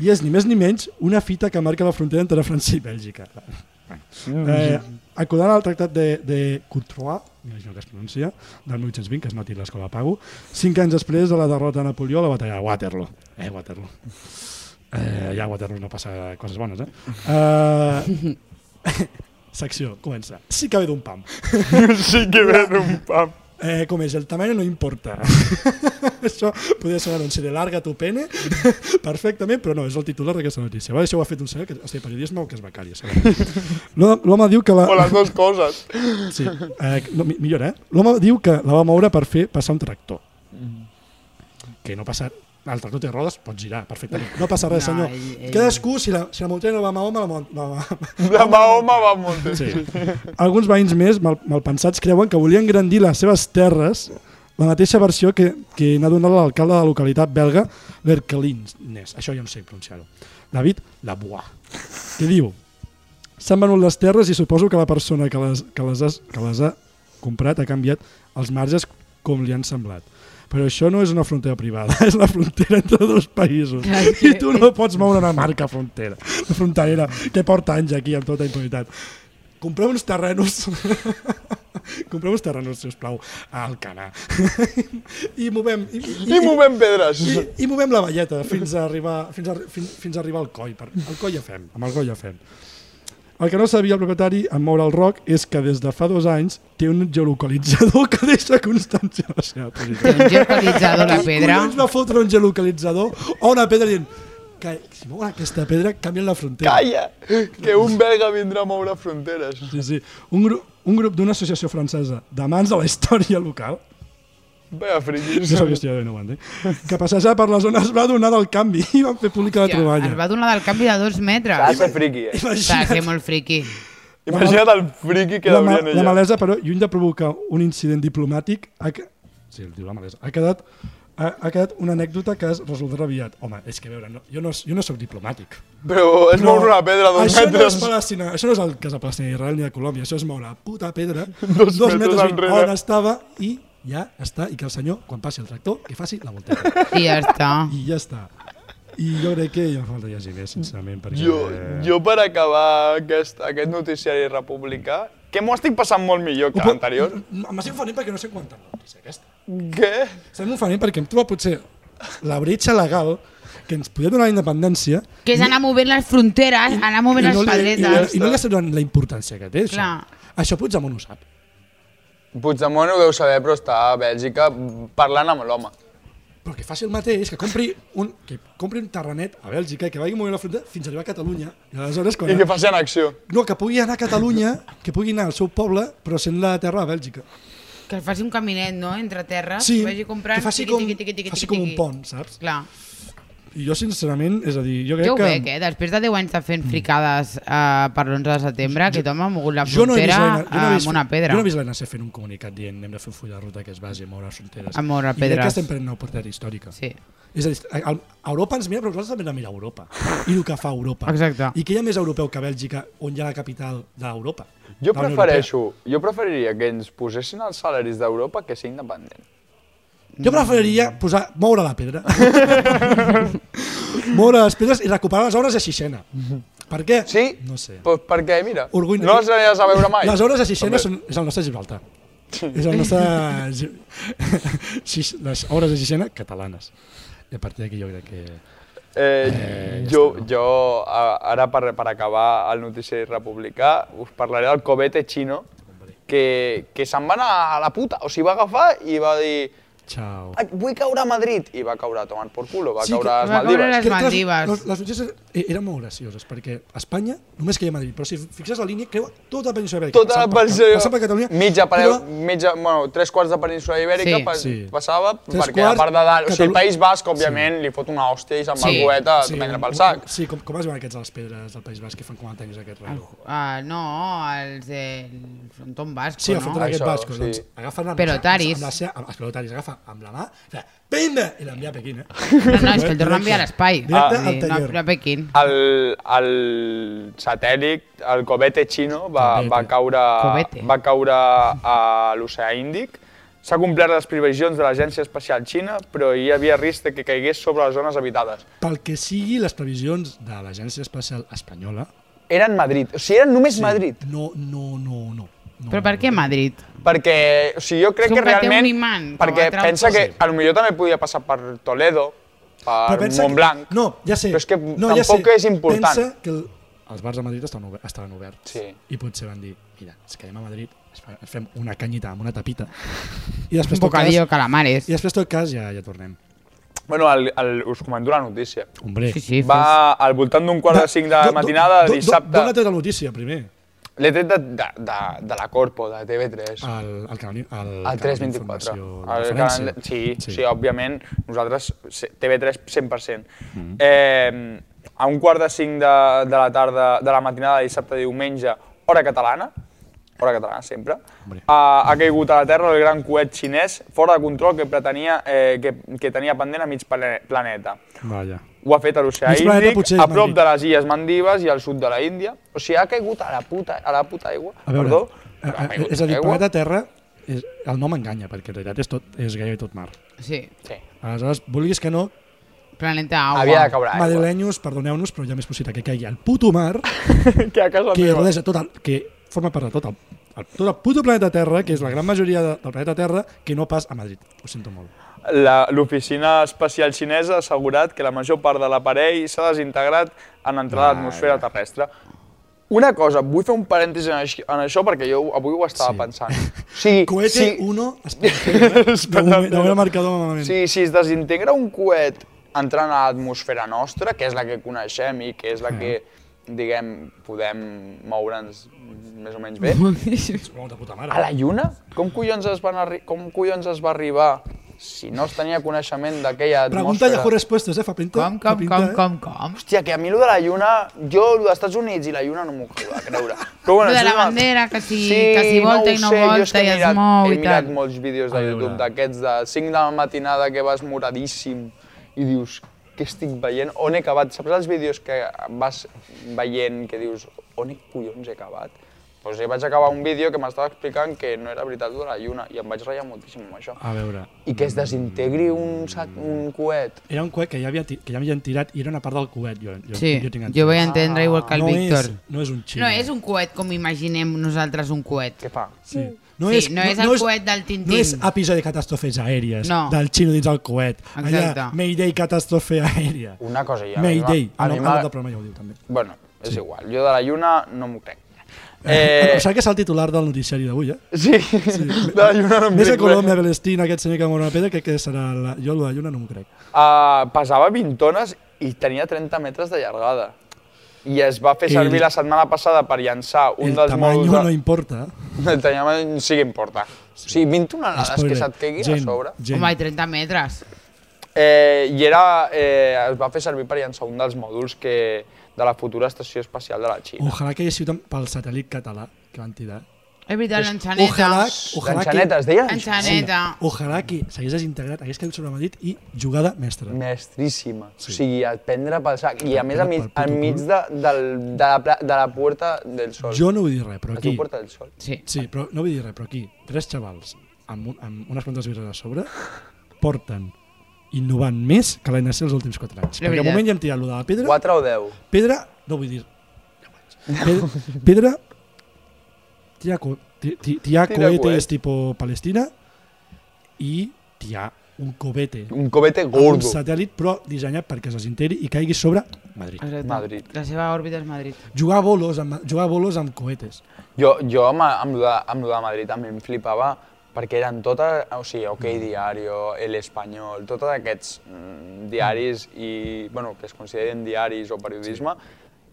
Speaker 4: I és ni més ni menys una fita que marca la frontera entre França i Bèlgica. Eh, acudant al tractat de, de Courtois, m'imagino que es pronuncia, del 1820, que es mati l'escola Pago, cinc anys després de la derrota de Napoleó a la batalla de Waterloo. Eh, Waterloo. Eh, ja a Waterloo no passa coses bones, eh? eh secció, comença. Sí que ve d'un pam.
Speaker 2: Sí que ve d'un pam.
Speaker 4: Eh, com és, el tamaño no importa. Això podria ser un anunci de larga tu pene, perfectament, però no, és el titular d'aquesta notícia. Vale, això ho ha fet un senyor que és periodisme o que és becari. L'home diu que la...
Speaker 2: O les dues coses.
Speaker 4: Sí, eh, no, mi- millor, eh? L'home diu que la va moure per fer passar un tractor. Que no passa... El tractor té rodes, pot girar perfectament. No passa res,
Speaker 3: No,
Speaker 4: senyor.
Speaker 3: ell- ell-
Speaker 4: Cadascú, si la, si la muntanya no va a Mahoma, la, mon- la, la,
Speaker 2: La Mahoma va molt.
Speaker 4: Sí. Alguns veïns més, mal, malpensats, creuen que volien grandir les seves terres la mateixa versió que, que n'ha donat l'alcalde de la localitat belga, Berkelins. Això ja no sé pronunciar-ho. David Labois. Què diu? S'han venut les terres i suposo que la persona que les, que les, has, que les ha comprat ha canviat els marges com li han semblat. Però això no és una frontera privada, és la frontera entre dos països. I tu no pots moure una marca frontera, fronterera que porta anys aquí amb tota impunitat. Compreu uns terrenos compreu uns terrenos, si us plau, a Alcanar. I movem... I,
Speaker 2: I movem pedres.
Speaker 4: i, i movem la velleta fins a arribar, fins a, fins, fins a arribar al coll. Per, el coll ja fem, amb el coll ja fem. El que no sabia el propietari en moure el roc és que des de fa dos anys té un geolocalitzador que deixa constància de la seva posició.
Speaker 3: Té un geolocalitzador, la pedra.
Speaker 4: Collons va fotre un geolocalitzador o una pedra dient que si mouen aquesta pedra canvien la frontera.
Speaker 2: Calla, que un belga vindrà a moure fronteres.
Speaker 4: Sí, sí. Un, gru un grup d'una associació francesa d'amants de la història local
Speaker 2: Vaya friquis.
Speaker 4: no sabia si era de nou, eh? que passejar per la zona es va donar del canvi i van fer pública la
Speaker 3: Hòstia, es
Speaker 4: troballa.
Speaker 3: va donar del canvi de dos metres.
Speaker 2: Va ser friqui, eh?
Speaker 3: Ostres,
Speaker 4: Imagina't.
Speaker 3: que molt friqui.
Speaker 2: Imagina't el friqui que
Speaker 4: la, ma-
Speaker 2: deurien
Speaker 4: la
Speaker 2: ella.
Speaker 4: malesa, però, lluny de provocar un incident diplomàtic, ha, que- sí, el diu la malesa, ha quedat ha, ha quedat una anècdota que es resoldrà aviat. Home, és que a veure, no, jo, no, jo no sóc diplomàtic.
Speaker 2: Però és moure una pedra d'un
Speaker 4: això No és
Speaker 2: metres.
Speaker 4: Palestina, això no és el cas de Palestina, Israel ni de Colòmbia, això és moure la puta pedra
Speaker 2: Dos metres enrere.
Speaker 4: on estava i ja està, i que el senyor, quan passi el tractor, que faci la volteta.
Speaker 3: I ja està.
Speaker 4: I ja està. I jo crec que ja em falta llegir més, sincerament, perquè...
Speaker 2: Jo, jo per acabar aquest, aquest noticiari republicà, que m'ho estic passant molt millor que l'anterior.
Speaker 4: M'estic oferint perquè no sé quanta notícia aquesta.
Speaker 2: Què?
Speaker 4: Estem oferint perquè hem trobat potser la bretxa legal que ens podia donar la independència
Speaker 3: Que és anar movent les fronteres, anar movent les
Speaker 4: li, i,
Speaker 3: pedretes.
Speaker 4: i no li estem donant la importància que té, això.
Speaker 3: Clar.
Speaker 4: Això Puigdemont ho sap.
Speaker 2: Puigdemont ho deu saber, però està a Bèlgica parlant amb l'home.
Speaker 4: Però que faci el mateix, que compri un, que compri un terrenet a Bèlgica i que vagi movent la frontera fins a arribar a Catalunya. I aleshores, quan...
Speaker 2: I que faci en acció.
Speaker 4: No, que pugui anar a Catalunya, que pugui anar al seu poble, però sent la terra a Bèlgica.
Speaker 3: Que faci un caminet, no?, entre terres.
Speaker 4: Sí,
Speaker 3: vagi comprant,
Speaker 4: que faci
Speaker 3: tiqui,
Speaker 4: com,
Speaker 3: tiqui, tiqui, tiqui,
Speaker 4: faci
Speaker 3: tiqui,
Speaker 4: com un
Speaker 3: tiqui.
Speaker 4: pont, saps?
Speaker 3: Clar.
Speaker 4: I jo, sincerament, és a dir, jo crec
Speaker 3: Jo ho
Speaker 4: que...
Speaker 3: veig, eh? Després de 10 anys de fent fricades eh, per l'11 de setembre, aquest home ha mogut la
Speaker 4: Jo no he vist
Speaker 3: frontera
Speaker 4: l'Aina- jo no he vist-
Speaker 3: amb una pedra.
Speaker 4: Jo no he vist l'ANC fent un comunicat dient anem de fer un full de ruta que es basi a moure les fronteres.
Speaker 3: A moure
Speaker 4: I crec
Speaker 3: pedres.
Speaker 4: que estem prenent una oportunitat històrica.
Speaker 3: Sí.
Speaker 4: És a dir, a- a- Europa ens mira, però nosaltres també hem de mirar Europa. I el que fa Europa.
Speaker 3: Exacte.
Speaker 4: I que hi ha més europeu que Bèlgica, on hi ha la capital d'Europa.
Speaker 2: Jo
Speaker 4: de la Unió
Speaker 2: prefereixo, jo preferiria que ens posessin els salaris d'Europa que ser independent.
Speaker 4: Europea. Jo preferiria posar, moure la pedra. moure les pedres i recuperar les obres de Xixena. Per què?
Speaker 2: Mhm. Sí?
Speaker 4: No sé.
Speaker 2: Pues perquè, mira,
Speaker 4: Orgull-
Speaker 2: no les aniràs a veure mai.
Speaker 4: Les obres de Sixena
Speaker 2: També.
Speaker 4: són, és el nostre Gibraltar. És el nostre... Gi- Xix- les obres de Sixena catalanes. I a partir d'aquí jo crec que...
Speaker 2: Eh,
Speaker 4: ja
Speaker 2: jo,
Speaker 4: està, no?
Speaker 2: jo a- ara per, per acabar el noticiari republicà us parlaré del cobete xino que, que se'n va anar a la puta, o sigui, va agafar i va dir
Speaker 4: Ciao.
Speaker 2: "Ai, vull caure a Madrid i va caure a tomar por culo, va
Speaker 4: Sí,
Speaker 2: caure
Speaker 4: que-
Speaker 2: a les
Speaker 3: va caure
Speaker 2: Maldives.
Speaker 3: les-
Speaker 4: Crec que
Speaker 3: Maldives.
Speaker 4: Les, les notícies e- eren molt gracioses, perquè a Espanya només queia Madrid, però si fixes la línia, creu tota la península ibèrica.
Speaker 2: Tota la
Speaker 4: passant per-
Speaker 2: península,
Speaker 4: Passant per Catalunya,
Speaker 2: mitja, per,
Speaker 4: però
Speaker 2: mitja, bueno, tres quarts de península ibèrica
Speaker 3: Sí.
Speaker 2: pa,
Speaker 4: Sí.
Speaker 2: passava
Speaker 4: Tres
Speaker 2: perquè la
Speaker 4: quarts,
Speaker 2: part de dalt, o sigui, el
Speaker 4: Catalu-
Speaker 2: País Basc, òbviament, li fot una hòstia i se'n va
Speaker 3: Sí.
Speaker 2: el coet a prendre pel sac.
Speaker 4: Sí, com, com es veuen aquests de les pedres del País Basc que fan com a tenis aquest
Speaker 3: El,
Speaker 4: raro?
Speaker 3: uh, no, els del frontón basco,
Speaker 4: Sí,
Speaker 3: no?
Speaker 4: agafant no? aquest
Speaker 2: Això,
Speaker 4: basco,
Speaker 2: sí.
Speaker 4: doncs, agafen amb,
Speaker 3: Pelotaris.
Speaker 4: Amb la seva, amb, els pelotaris, agafa amb la mà, fa, pimba, i l'envia a Pequín, eh?
Speaker 3: No, no, és que el torna a enviar a l'espai.
Speaker 2: Ah,
Speaker 3: Ah, Sí,
Speaker 4: Directe al taller.
Speaker 3: No, a Pequín.
Speaker 2: el, el satèl·lit, el cobete xino, va,
Speaker 4: Covete.
Speaker 2: va caure,
Speaker 3: Covete.
Speaker 2: va caure a l'oceà Índic. S'ha complert les previsions de l'Agència Espacial Xina, però hi havia risc de que caigués sobre les zones habitades.
Speaker 4: Pel que sigui les previsions de l'Agència Espacial Espanyola,
Speaker 2: Era en Madrid, o sigui, era només Madrid,
Speaker 4: no, no, no, no. no
Speaker 3: Però per què Madrid?
Speaker 2: perquè o sigui, jo crec
Speaker 3: Com
Speaker 2: que
Speaker 3: que té un
Speaker 2: realment...
Speaker 3: imant que
Speaker 2: perquè
Speaker 3: ho atrau
Speaker 2: pensa
Speaker 3: tot.
Speaker 2: que a lo millor també podia passar per Toledo, per
Speaker 4: Però pensa que-
Speaker 2: Montblanc.
Speaker 4: No, ja sé.
Speaker 2: Però és que
Speaker 4: no, ja
Speaker 2: tampoc
Speaker 4: sé.
Speaker 2: és important.
Speaker 4: Pensa que el, els bars de Madrid estan ober- estaven oberts.
Speaker 2: Sí.
Speaker 4: I potser van dir, mira, ens quedem a Madrid, es fa- ens fem una canyita amb una tapita. I després,
Speaker 3: Un
Speaker 4: tot cas,
Speaker 3: bocadillo de calamares.
Speaker 4: i després tot cas ja, ja tornem.
Speaker 2: Bueno, el, el, us comento la notícia.
Speaker 4: Hombre.
Speaker 3: Sí, sí, fes.
Speaker 2: Va al voltant d'un quart de cinc de matinada de dissabte.
Speaker 4: Dóna-te tota la notícia, primer.
Speaker 2: L'he tret de, de, de, de la Corpo, de TV3.
Speaker 4: Al, al canal, al,
Speaker 2: El 324.
Speaker 4: El
Speaker 2: El canal, de- sí, sí, sí, òbviament, nosaltres, se- TV3 100%. Mm. Eh, a un quart de cinc de, de la tarda, de la matinada de dissabte a diumenge, hora catalana, hora catalana sempre, eh,
Speaker 4: Hombre.
Speaker 2: ha, ha caigut a la terra el gran coet xinès fora de control que pretenia eh, que, que tenia pendent a mig plane- planeta.
Speaker 4: Vaja.
Speaker 2: Ho ha fet a l'oceà
Speaker 4: Mig planeta
Speaker 2: Índic,
Speaker 4: potser és
Speaker 2: a prop
Speaker 4: Madrid.
Speaker 2: de les Illes Mandives i al sud de la Índia. O sigui, ha caigut a la puta, a la puta aigua.
Speaker 4: A veure,
Speaker 2: Perdó?
Speaker 4: a, a,
Speaker 2: Ha caigut
Speaker 4: és a dir,
Speaker 2: aigua.
Speaker 4: planeta Terra, és, el nom enganya, perquè en realitat és, tot, és gairebé tot mar.
Speaker 3: Sí,
Speaker 2: Sí.
Speaker 4: Aleshores, vulguis que no,
Speaker 3: planeta agua.
Speaker 2: Havia de caure aigua.
Speaker 4: madrilenyos, perdoneu-nos, però ja m'és possible que caigui al puto mar,
Speaker 2: que a casa
Speaker 4: que,
Speaker 2: meva.
Speaker 4: rodeja tot el, que forma part de tot el, el, tot el puto planeta Terra, que és la gran majoria de, del planeta Terra, que no pas a Madrid. Ho sento molt.
Speaker 2: La- L'oficina espacial xinesa ha assegurat que la major part de l'aparell s'ha desintegrat en entrar a l'atmosfera terrestre. Una cosa, vull fer un parèntesi en, aix- en això perquè jo avui ho estava
Speaker 4: Sí.
Speaker 2: pensant. Sí,
Speaker 4: Cohete
Speaker 2: sí,
Speaker 4: 1, sí. de moment marcador malament.
Speaker 2: Sí, si es desintegra un coet entrant a l'atmosfera nostra, que és la que coneixem i que és la que, diguem, podem moure'ns més o menys bé,
Speaker 4: Suposo de puta
Speaker 2: a
Speaker 4: mare.
Speaker 2: la Lluna, com collons es, van arri com collons es va arribar si no es tenia coneixement d'aquella
Speaker 4: Pregunta
Speaker 2: atmosfera?
Speaker 4: Yahoo Respostes, eh? Fa pinta.
Speaker 3: Com,
Speaker 4: fa
Speaker 3: com,
Speaker 4: pinta,
Speaker 3: com,
Speaker 4: eh?
Speaker 3: com, com?
Speaker 2: Hòstia, que a mi lo de la Lluna, jo lo dels Estats Units i la Lluna no m'ho acabo de creure. Però
Speaker 3: Lo de
Speaker 2: això
Speaker 3: la
Speaker 2: és una-
Speaker 3: bandera, que si- que si volta
Speaker 2: ho
Speaker 3: i no
Speaker 2: sé, jo és
Speaker 3: volta
Speaker 2: que he
Speaker 3: i es
Speaker 2: mirat-
Speaker 3: mou i
Speaker 2: He mirat
Speaker 3: tal.
Speaker 2: molts vídeos de
Speaker 4: A veure.
Speaker 2: YouTube d'aquests de 5 de la matinada que vas moradíssim i dius, què estic veient? On he acabat? Saps els vídeos que vas veient que dius, on he collons he acabat? Doncs jo vaig acabar un vídeo que m'estava explicant que no era veritat lo de la Lluna i em vaig ratllar moltíssim amb això.
Speaker 4: A veure,
Speaker 2: I que es desintegri un, sat, un coet.
Speaker 4: era un coet que ja havien, ti- que ja havien tirat i era una part del coet. Jo, jo,
Speaker 3: Sí,
Speaker 4: jo tinc
Speaker 3: jo vaig entendre igual que el
Speaker 4: no
Speaker 3: Víctor.
Speaker 4: És, no és un xino.
Speaker 3: No és un coet com imaginem nosaltres un coet.
Speaker 2: Què fa?
Speaker 4: Sí.
Speaker 3: Sí, no és el coet del Tintín.
Speaker 4: No és episodi de catàstrofes aèries,
Speaker 3: No.
Speaker 4: del xino dins el coet. Allà,
Speaker 3: Exacte.
Speaker 4: Mayday, catàstrofe aèria.
Speaker 2: Una cosa ja.
Speaker 4: Mayday.
Speaker 2: A
Speaker 4: Ah,
Speaker 2: mi
Speaker 4: no,
Speaker 2: m'ha-
Speaker 4: el programa ja ho diu, també.
Speaker 2: Bueno, és igual. Jo de la lluna no m'ho crec.
Speaker 4: Eh...
Speaker 2: Eh,
Speaker 4: Em sembla que és el titular del noticiari d'avui, eh?
Speaker 2: sí, sí, de la lluna no em eh.
Speaker 4: Més a
Speaker 2: crec
Speaker 4: Colòmbia, Palestina, aquest senyor que mor una pedra, crec que serà... La... Jo, el de la lluna, no m'ho crec.
Speaker 2: Uh, pesava 20 tones i tenia 30 metres de llargada. I es va fer servir
Speaker 4: El-
Speaker 2: la setmana passada per llançar un
Speaker 4: el
Speaker 2: dels
Speaker 4: tamaño
Speaker 2: mòduls...
Speaker 4: no
Speaker 2: De...
Speaker 4: importa.
Speaker 2: El tamaño sí que importa. O sigui, 20 tonelades que
Speaker 4: Spoiler.
Speaker 2: se't queguin a
Speaker 4: Gent,
Speaker 2: sobre.
Speaker 4: gent.
Speaker 3: Home, i 30 metres.
Speaker 2: Eh, I era, eh, es va fer servir per llançar un dels mòduls que, de la futura estació espacial de la Xina.
Speaker 4: Ojalà que hi hagi pel satèl·lit català que van tirar.
Speaker 3: És veritat, l'enxaneta.
Speaker 4: Ojalà,
Speaker 2: Ojalà
Speaker 4: ojalà
Speaker 2: L'enxaneta,
Speaker 4: que,
Speaker 2: es deia?
Speaker 3: Enxaneta.
Speaker 4: ojalà que s'hagués desintegrat, hagués caigut sobre Madrid i jugada mestra.
Speaker 2: Mestríssima. Sí.
Speaker 4: Sí.
Speaker 2: O sigui, et prendre pel sac. I a més,
Speaker 4: prendre
Speaker 2: enmig,
Speaker 4: pel puto
Speaker 2: enmig
Speaker 4: cul.
Speaker 2: de, del, de, la, pla- de la Puerta del Sol.
Speaker 4: Jo no vull dir res, però
Speaker 2: Es diu
Speaker 4: aquí...
Speaker 2: Puerta del Sol.
Speaker 3: Sí.
Speaker 4: Sí, però no vull dir res, però aquí, tres xavals amb, un, amb unes quantes birres a sobre porten innovant més que la NC els últims 4 anys.
Speaker 3: La
Speaker 4: Perquè al
Speaker 3: veritat.
Speaker 4: moment ja hem tirat allò de la pedra,
Speaker 2: 4 o 10?
Speaker 4: pedra, no vull dir... Pedra, pedra tirar, co, ti, ti, tirar
Speaker 2: Tira
Speaker 4: cohetes
Speaker 2: coet.
Speaker 4: tipo Palestina i tirar un cobete
Speaker 2: Un cobete
Speaker 4: amb un
Speaker 2: gordo.
Speaker 4: satèl·lit però dissenyat perquè es desinteri i caigui sobre
Speaker 2: Ah.
Speaker 4: Madrid.
Speaker 3: Exacte.
Speaker 2: Madrid.
Speaker 3: La seva òrbita és Madrid.
Speaker 4: Jugar a bolos amb, jugar a bolos amb cohetes.
Speaker 2: Jo, jo amb, amb, lo de, amb lo de Madrid també em flipava perquè eren totes, o sigui, OK
Speaker 4: Mm.
Speaker 2: Diario, El Espanyol, tots aquests mm, diaris i, bueno, que es consideren diaris o periodisme,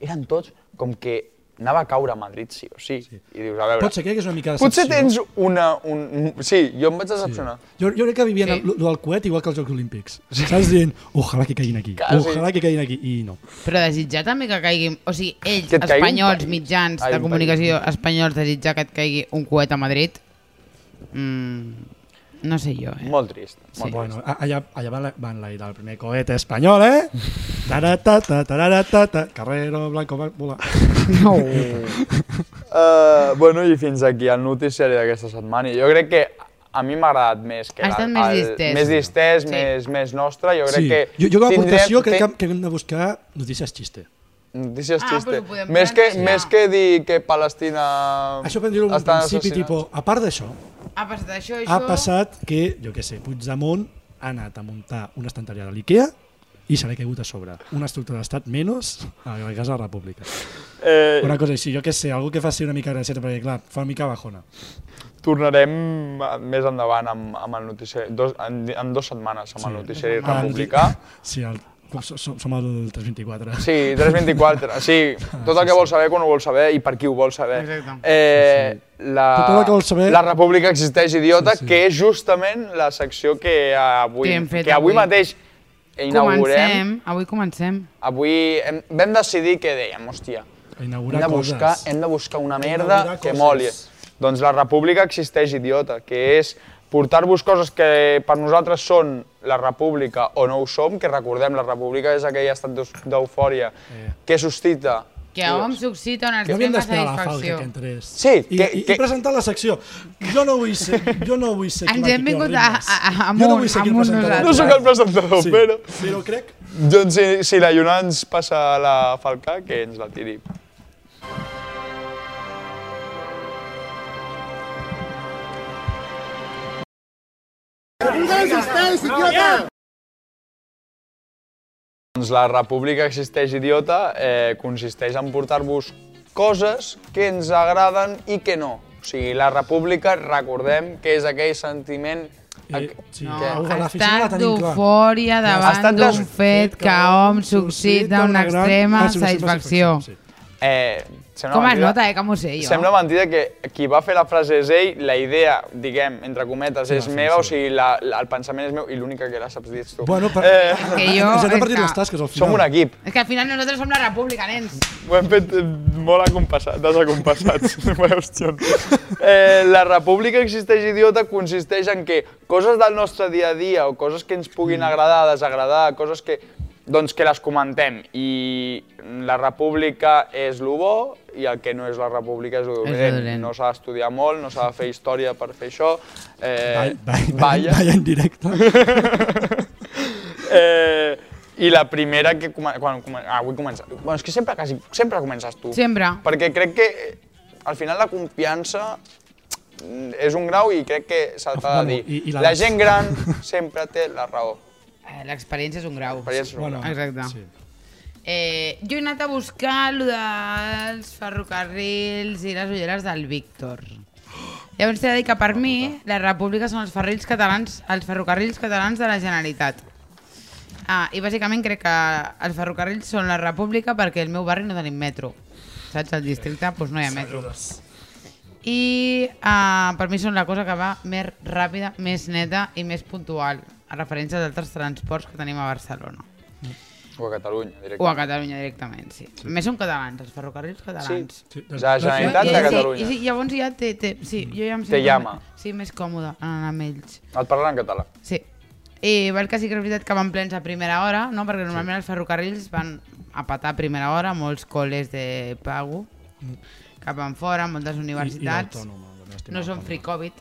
Speaker 2: eren tots com que anava a caure a Madrid, sí o sí. I dius, a veure...
Speaker 4: Pot ser que és una mica de
Speaker 2: Potser
Speaker 4: decepció.
Speaker 2: tens una... Un, sí, jo em vaig decepcionar.
Speaker 4: Jo, jo crec que vivien
Speaker 3: Sí.
Speaker 4: sí. el coet igual que els Jocs Olímpics. Saps dient, ojalà que caiguin aquí,
Speaker 2: Quasi.
Speaker 4: ojalà que caiguin aquí, i no.
Speaker 3: Però desitjar també que caigui... O sigui, ells,
Speaker 2: Que et caigui un
Speaker 3: espanyols,
Speaker 2: país.
Speaker 3: mitjans
Speaker 2: Ai,
Speaker 3: de
Speaker 2: un
Speaker 3: comunicació espanyols, desitjar que et caigui un coet a Madrid... Mm, no sé jo, eh?
Speaker 2: Molt trist.
Speaker 3: Sí.
Speaker 2: Molt
Speaker 4: Bueno, a- allà, allà van, la- van la idea del primer coet espanyol, eh? Taratata, taratata, Carrero Blanco va volar.
Speaker 3: No.
Speaker 2: Uh, bueno, i fins aquí el noticiari d'aquesta setmana. Jo crec que a mi m'ha agradat més. Que
Speaker 3: Ha estat més distès.
Speaker 2: Més distès,
Speaker 3: Sí.
Speaker 2: sí. més, més nostre. Jo crec
Speaker 4: Sí.
Speaker 2: que...
Speaker 4: Jo, jo com a
Speaker 2: tindrem-
Speaker 4: aportació crec que,
Speaker 2: ten-
Speaker 4: que hem de buscar notícies xiste.
Speaker 2: Notícies
Speaker 3: Ah,
Speaker 2: xiste.
Speaker 3: però ho podem
Speaker 2: més, que,
Speaker 3: plantejar.
Speaker 2: més que dir que Palestina...
Speaker 4: Això podem dir-ho en un
Speaker 2: estan
Speaker 4: principi,
Speaker 2: assassinats.
Speaker 4: tipo, a part d'això,
Speaker 3: Ha passat això, això...
Speaker 4: ha passat que, jo què sé, Puigdemont ha anat a muntar una estanteria de l'IKEA i se l'ha caigut a sobre. Una estructura d'estat menys a la Casa de la República.
Speaker 2: Eh,
Speaker 4: Una cosa així, jo què sé, algú que faci una mica gracieta, perquè clar, fa una mica bajona.
Speaker 2: tornarem eh, més endavant amb, amb el noticiari, dos, en, en dues setmanes amb el noticiari
Speaker 4: Ah,
Speaker 2: republicà.
Speaker 4: Sí, el, som, som el 324.
Speaker 2: Sí, 324, sí, tot el que vol saber quan ho vol saber i per qui ho vol saber.
Speaker 3: Exacte.
Speaker 2: Eh, la,
Speaker 4: Tot el que vol saber-
Speaker 2: la República existeix, idiota,
Speaker 4: Sí, sí.
Speaker 2: que és justament la secció que avui,
Speaker 3: Que hem fet
Speaker 2: que avui,
Speaker 3: avui.
Speaker 2: mateix inaugurem.
Speaker 3: Comencem, avui comencem.
Speaker 2: Avui hem, vam decidir que dèiem, hòstia,
Speaker 4: A inaugurar
Speaker 2: hem de,
Speaker 4: coses.
Speaker 2: buscar, hem de buscar una merda
Speaker 4: Inaugurar
Speaker 2: que
Speaker 4: coses.
Speaker 2: moli. Doncs la república existeix, idiota, que és portar-vos coses que per nosaltres són la república o no ho som, que recordem, la república és aquell estat d'eus- d'eufòria
Speaker 4: Eh.
Speaker 2: que suscita...
Speaker 3: Que a on suscita una
Speaker 4: Que havíem
Speaker 3: extrema
Speaker 4: d'esperar la falca
Speaker 3: satisfacció.
Speaker 4: que entrés.
Speaker 2: Sí,
Speaker 4: I,
Speaker 2: que-
Speaker 4: i,
Speaker 2: que-
Speaker 4: i presentar la secció. Jo no vull ser, jo no vull ser
Speaker 3: Ens
Speaker 4: qui
Speaker 3: hem
Speaker 4: marqui
Speaker 3: vingut
Speaker 4: els ritmes.
Speaker 3: a- a- a-
Speaker 4: Jo no
Speaker 3: amunt,
Speaker 4: vull ser qui
Speaker 3: amunt
Speaker 4: presentarà.
Speaker 2: No
Speaker 3: nosaltres.
Speaker 2: sóc el presentador,
Speaker 4: Eh. Sí,
Speaker 2: però...
Speaker 4: però crec...
Speaker 2: Doncs si, si la Lluna ens passa la falca, que ens la tiri. Doncs la república existeix idiota eh, consisteix en portar-vos coses que ens agraden i que no. O sigui, la república, recordem, que és aquell sentiment...
Speaker 4: Eh,
Speaker 2: aqu-
Speaker 4: sí,
Speaker 3: No,
Speaker 4: que-
Speaker 3: ha
Speaker 4: la afició la
Speaker 3: estat
Speaker 4: tenim clar.
Speaker 3: d'eufòria
Speaker 2: estat
Speaker 3: davant
Speaker 2: de-
Speaker 3: d'un fet que a hom suscita una
Speaker 4: gran-
Speaker 3: extrema
Speaker 4: Ah, sí, una extrema
Speaker 3: satisfacció.
Speaker 4: Sí.
Speaker 2: Eh, sembla
Speaker 3: Com es
Speaker 2: mentida.
Speaker 3: nota, eh, que m'ho sé jo.
Speaker 2: Sembla mentida que qui va fer la frase és ell, la idea, diguem, entre cometes, és
Speaker 4: sí,
Speaker 2: meva,
Speaker 4: sí.
Speaker 2: o sigui, la, la, el pensament és meu i l'única que la saps dir ets tu.
Speaker 4: Bueno, per...
Speaker 2: Eh,
Speaker 3: que jo-
Speaker 4: Ens hem
Speaker 3: és
Speaker 4: repartit
Speaker 3: que-
Speaker 4: les tasques al final.
Speaker 2: som un equip,
Speaker 3: És que al final nosaltres som la república, nens.
Speaker 2: ho hem fet eh, molt acompassat, desacompassats. Bueno, hòstia. eh, la república existeix idiota consisteix en que coses del nostre dia a dia o coses que ens puguin agradar, desagradar, coses que doncs que les comentem i la república és lo bo i el que no és la república és lo
Speaker 3: És lo
Speaker 2: dolent.
Speaker 3: dolent.
Speaker 2: No s'ha d'estudiar molt, no s'ha de fer història per fer això. Eh,
Speaker 4: Ball, ball, ball,
Speaker 2: balla.
Speaker 4: ball en directe.
Speaker 2: Eh, I la primera que... Comen quan comen ah, avui comença... Bueno, és que sempre, quasi, sempre comences tu.
Speaker 3: Sempre.
Speaker 2: Perquè crec que eh, al final la confiança mm, és un grau i crec que s'ha de
Speaker 4: Bueno,
Speaker 2: dir.
Speaker 4: i- i
Speaker 2: la...
Speaker 4: la-
Speaker 2: gent gran sempre té la raó.
Speaker 3: Eh, L'experiència és un grau.
Speaker 2: L'experiència és un grau.
Speaker 3: Exacte.
Speaker 4: Sí.
Speaker 3: Eh, jo he anat a buscar lo dels ferrocarrils i les ulleres del Víctor. Llavors t'he de dir que per mi la república són els ferrocarrils catalans, els ferrocarrils catalans de la Generalitat. Ah, i bàsicament crec que els ferrocarrils són la república perquè al meu barri no tenim metro. Saps? Al districte doncs no hi ha metro. I uh, per mi són la cosa que va més ràpida, més neta i més puntual a referència d'altres transports que tenim a Barcelona.
Speaker 2: O a Catalunya, directament.
Speaker 3: O a Catalunya directament, sí. sí. Més són catalans, els ferrocarrils catalans.
Speaker 4: Sí,
Speaker 2: De
Speaker 4: doncs,
Speaker 2: la Generalitat
Speaker 3: I-
Speaker 2: de
Speaker 3: i-
Speaker 2: Catalunya.
Speaker 3: I, i, llavors ja té, té, sí, jo ja em
Speaker 2: Te llama.
Speaker 3: com- Sí, més còmode anar amb ells.
Speaker 2: Et parlen en català.
Speaker 3: Sí. I val que sí que és veritat que van plens a primera hora, no? perquè normalment els ferrocarrils van a patar a primera hora, molts col·les de pago, cap enfora, moltes universitats. No són free covid.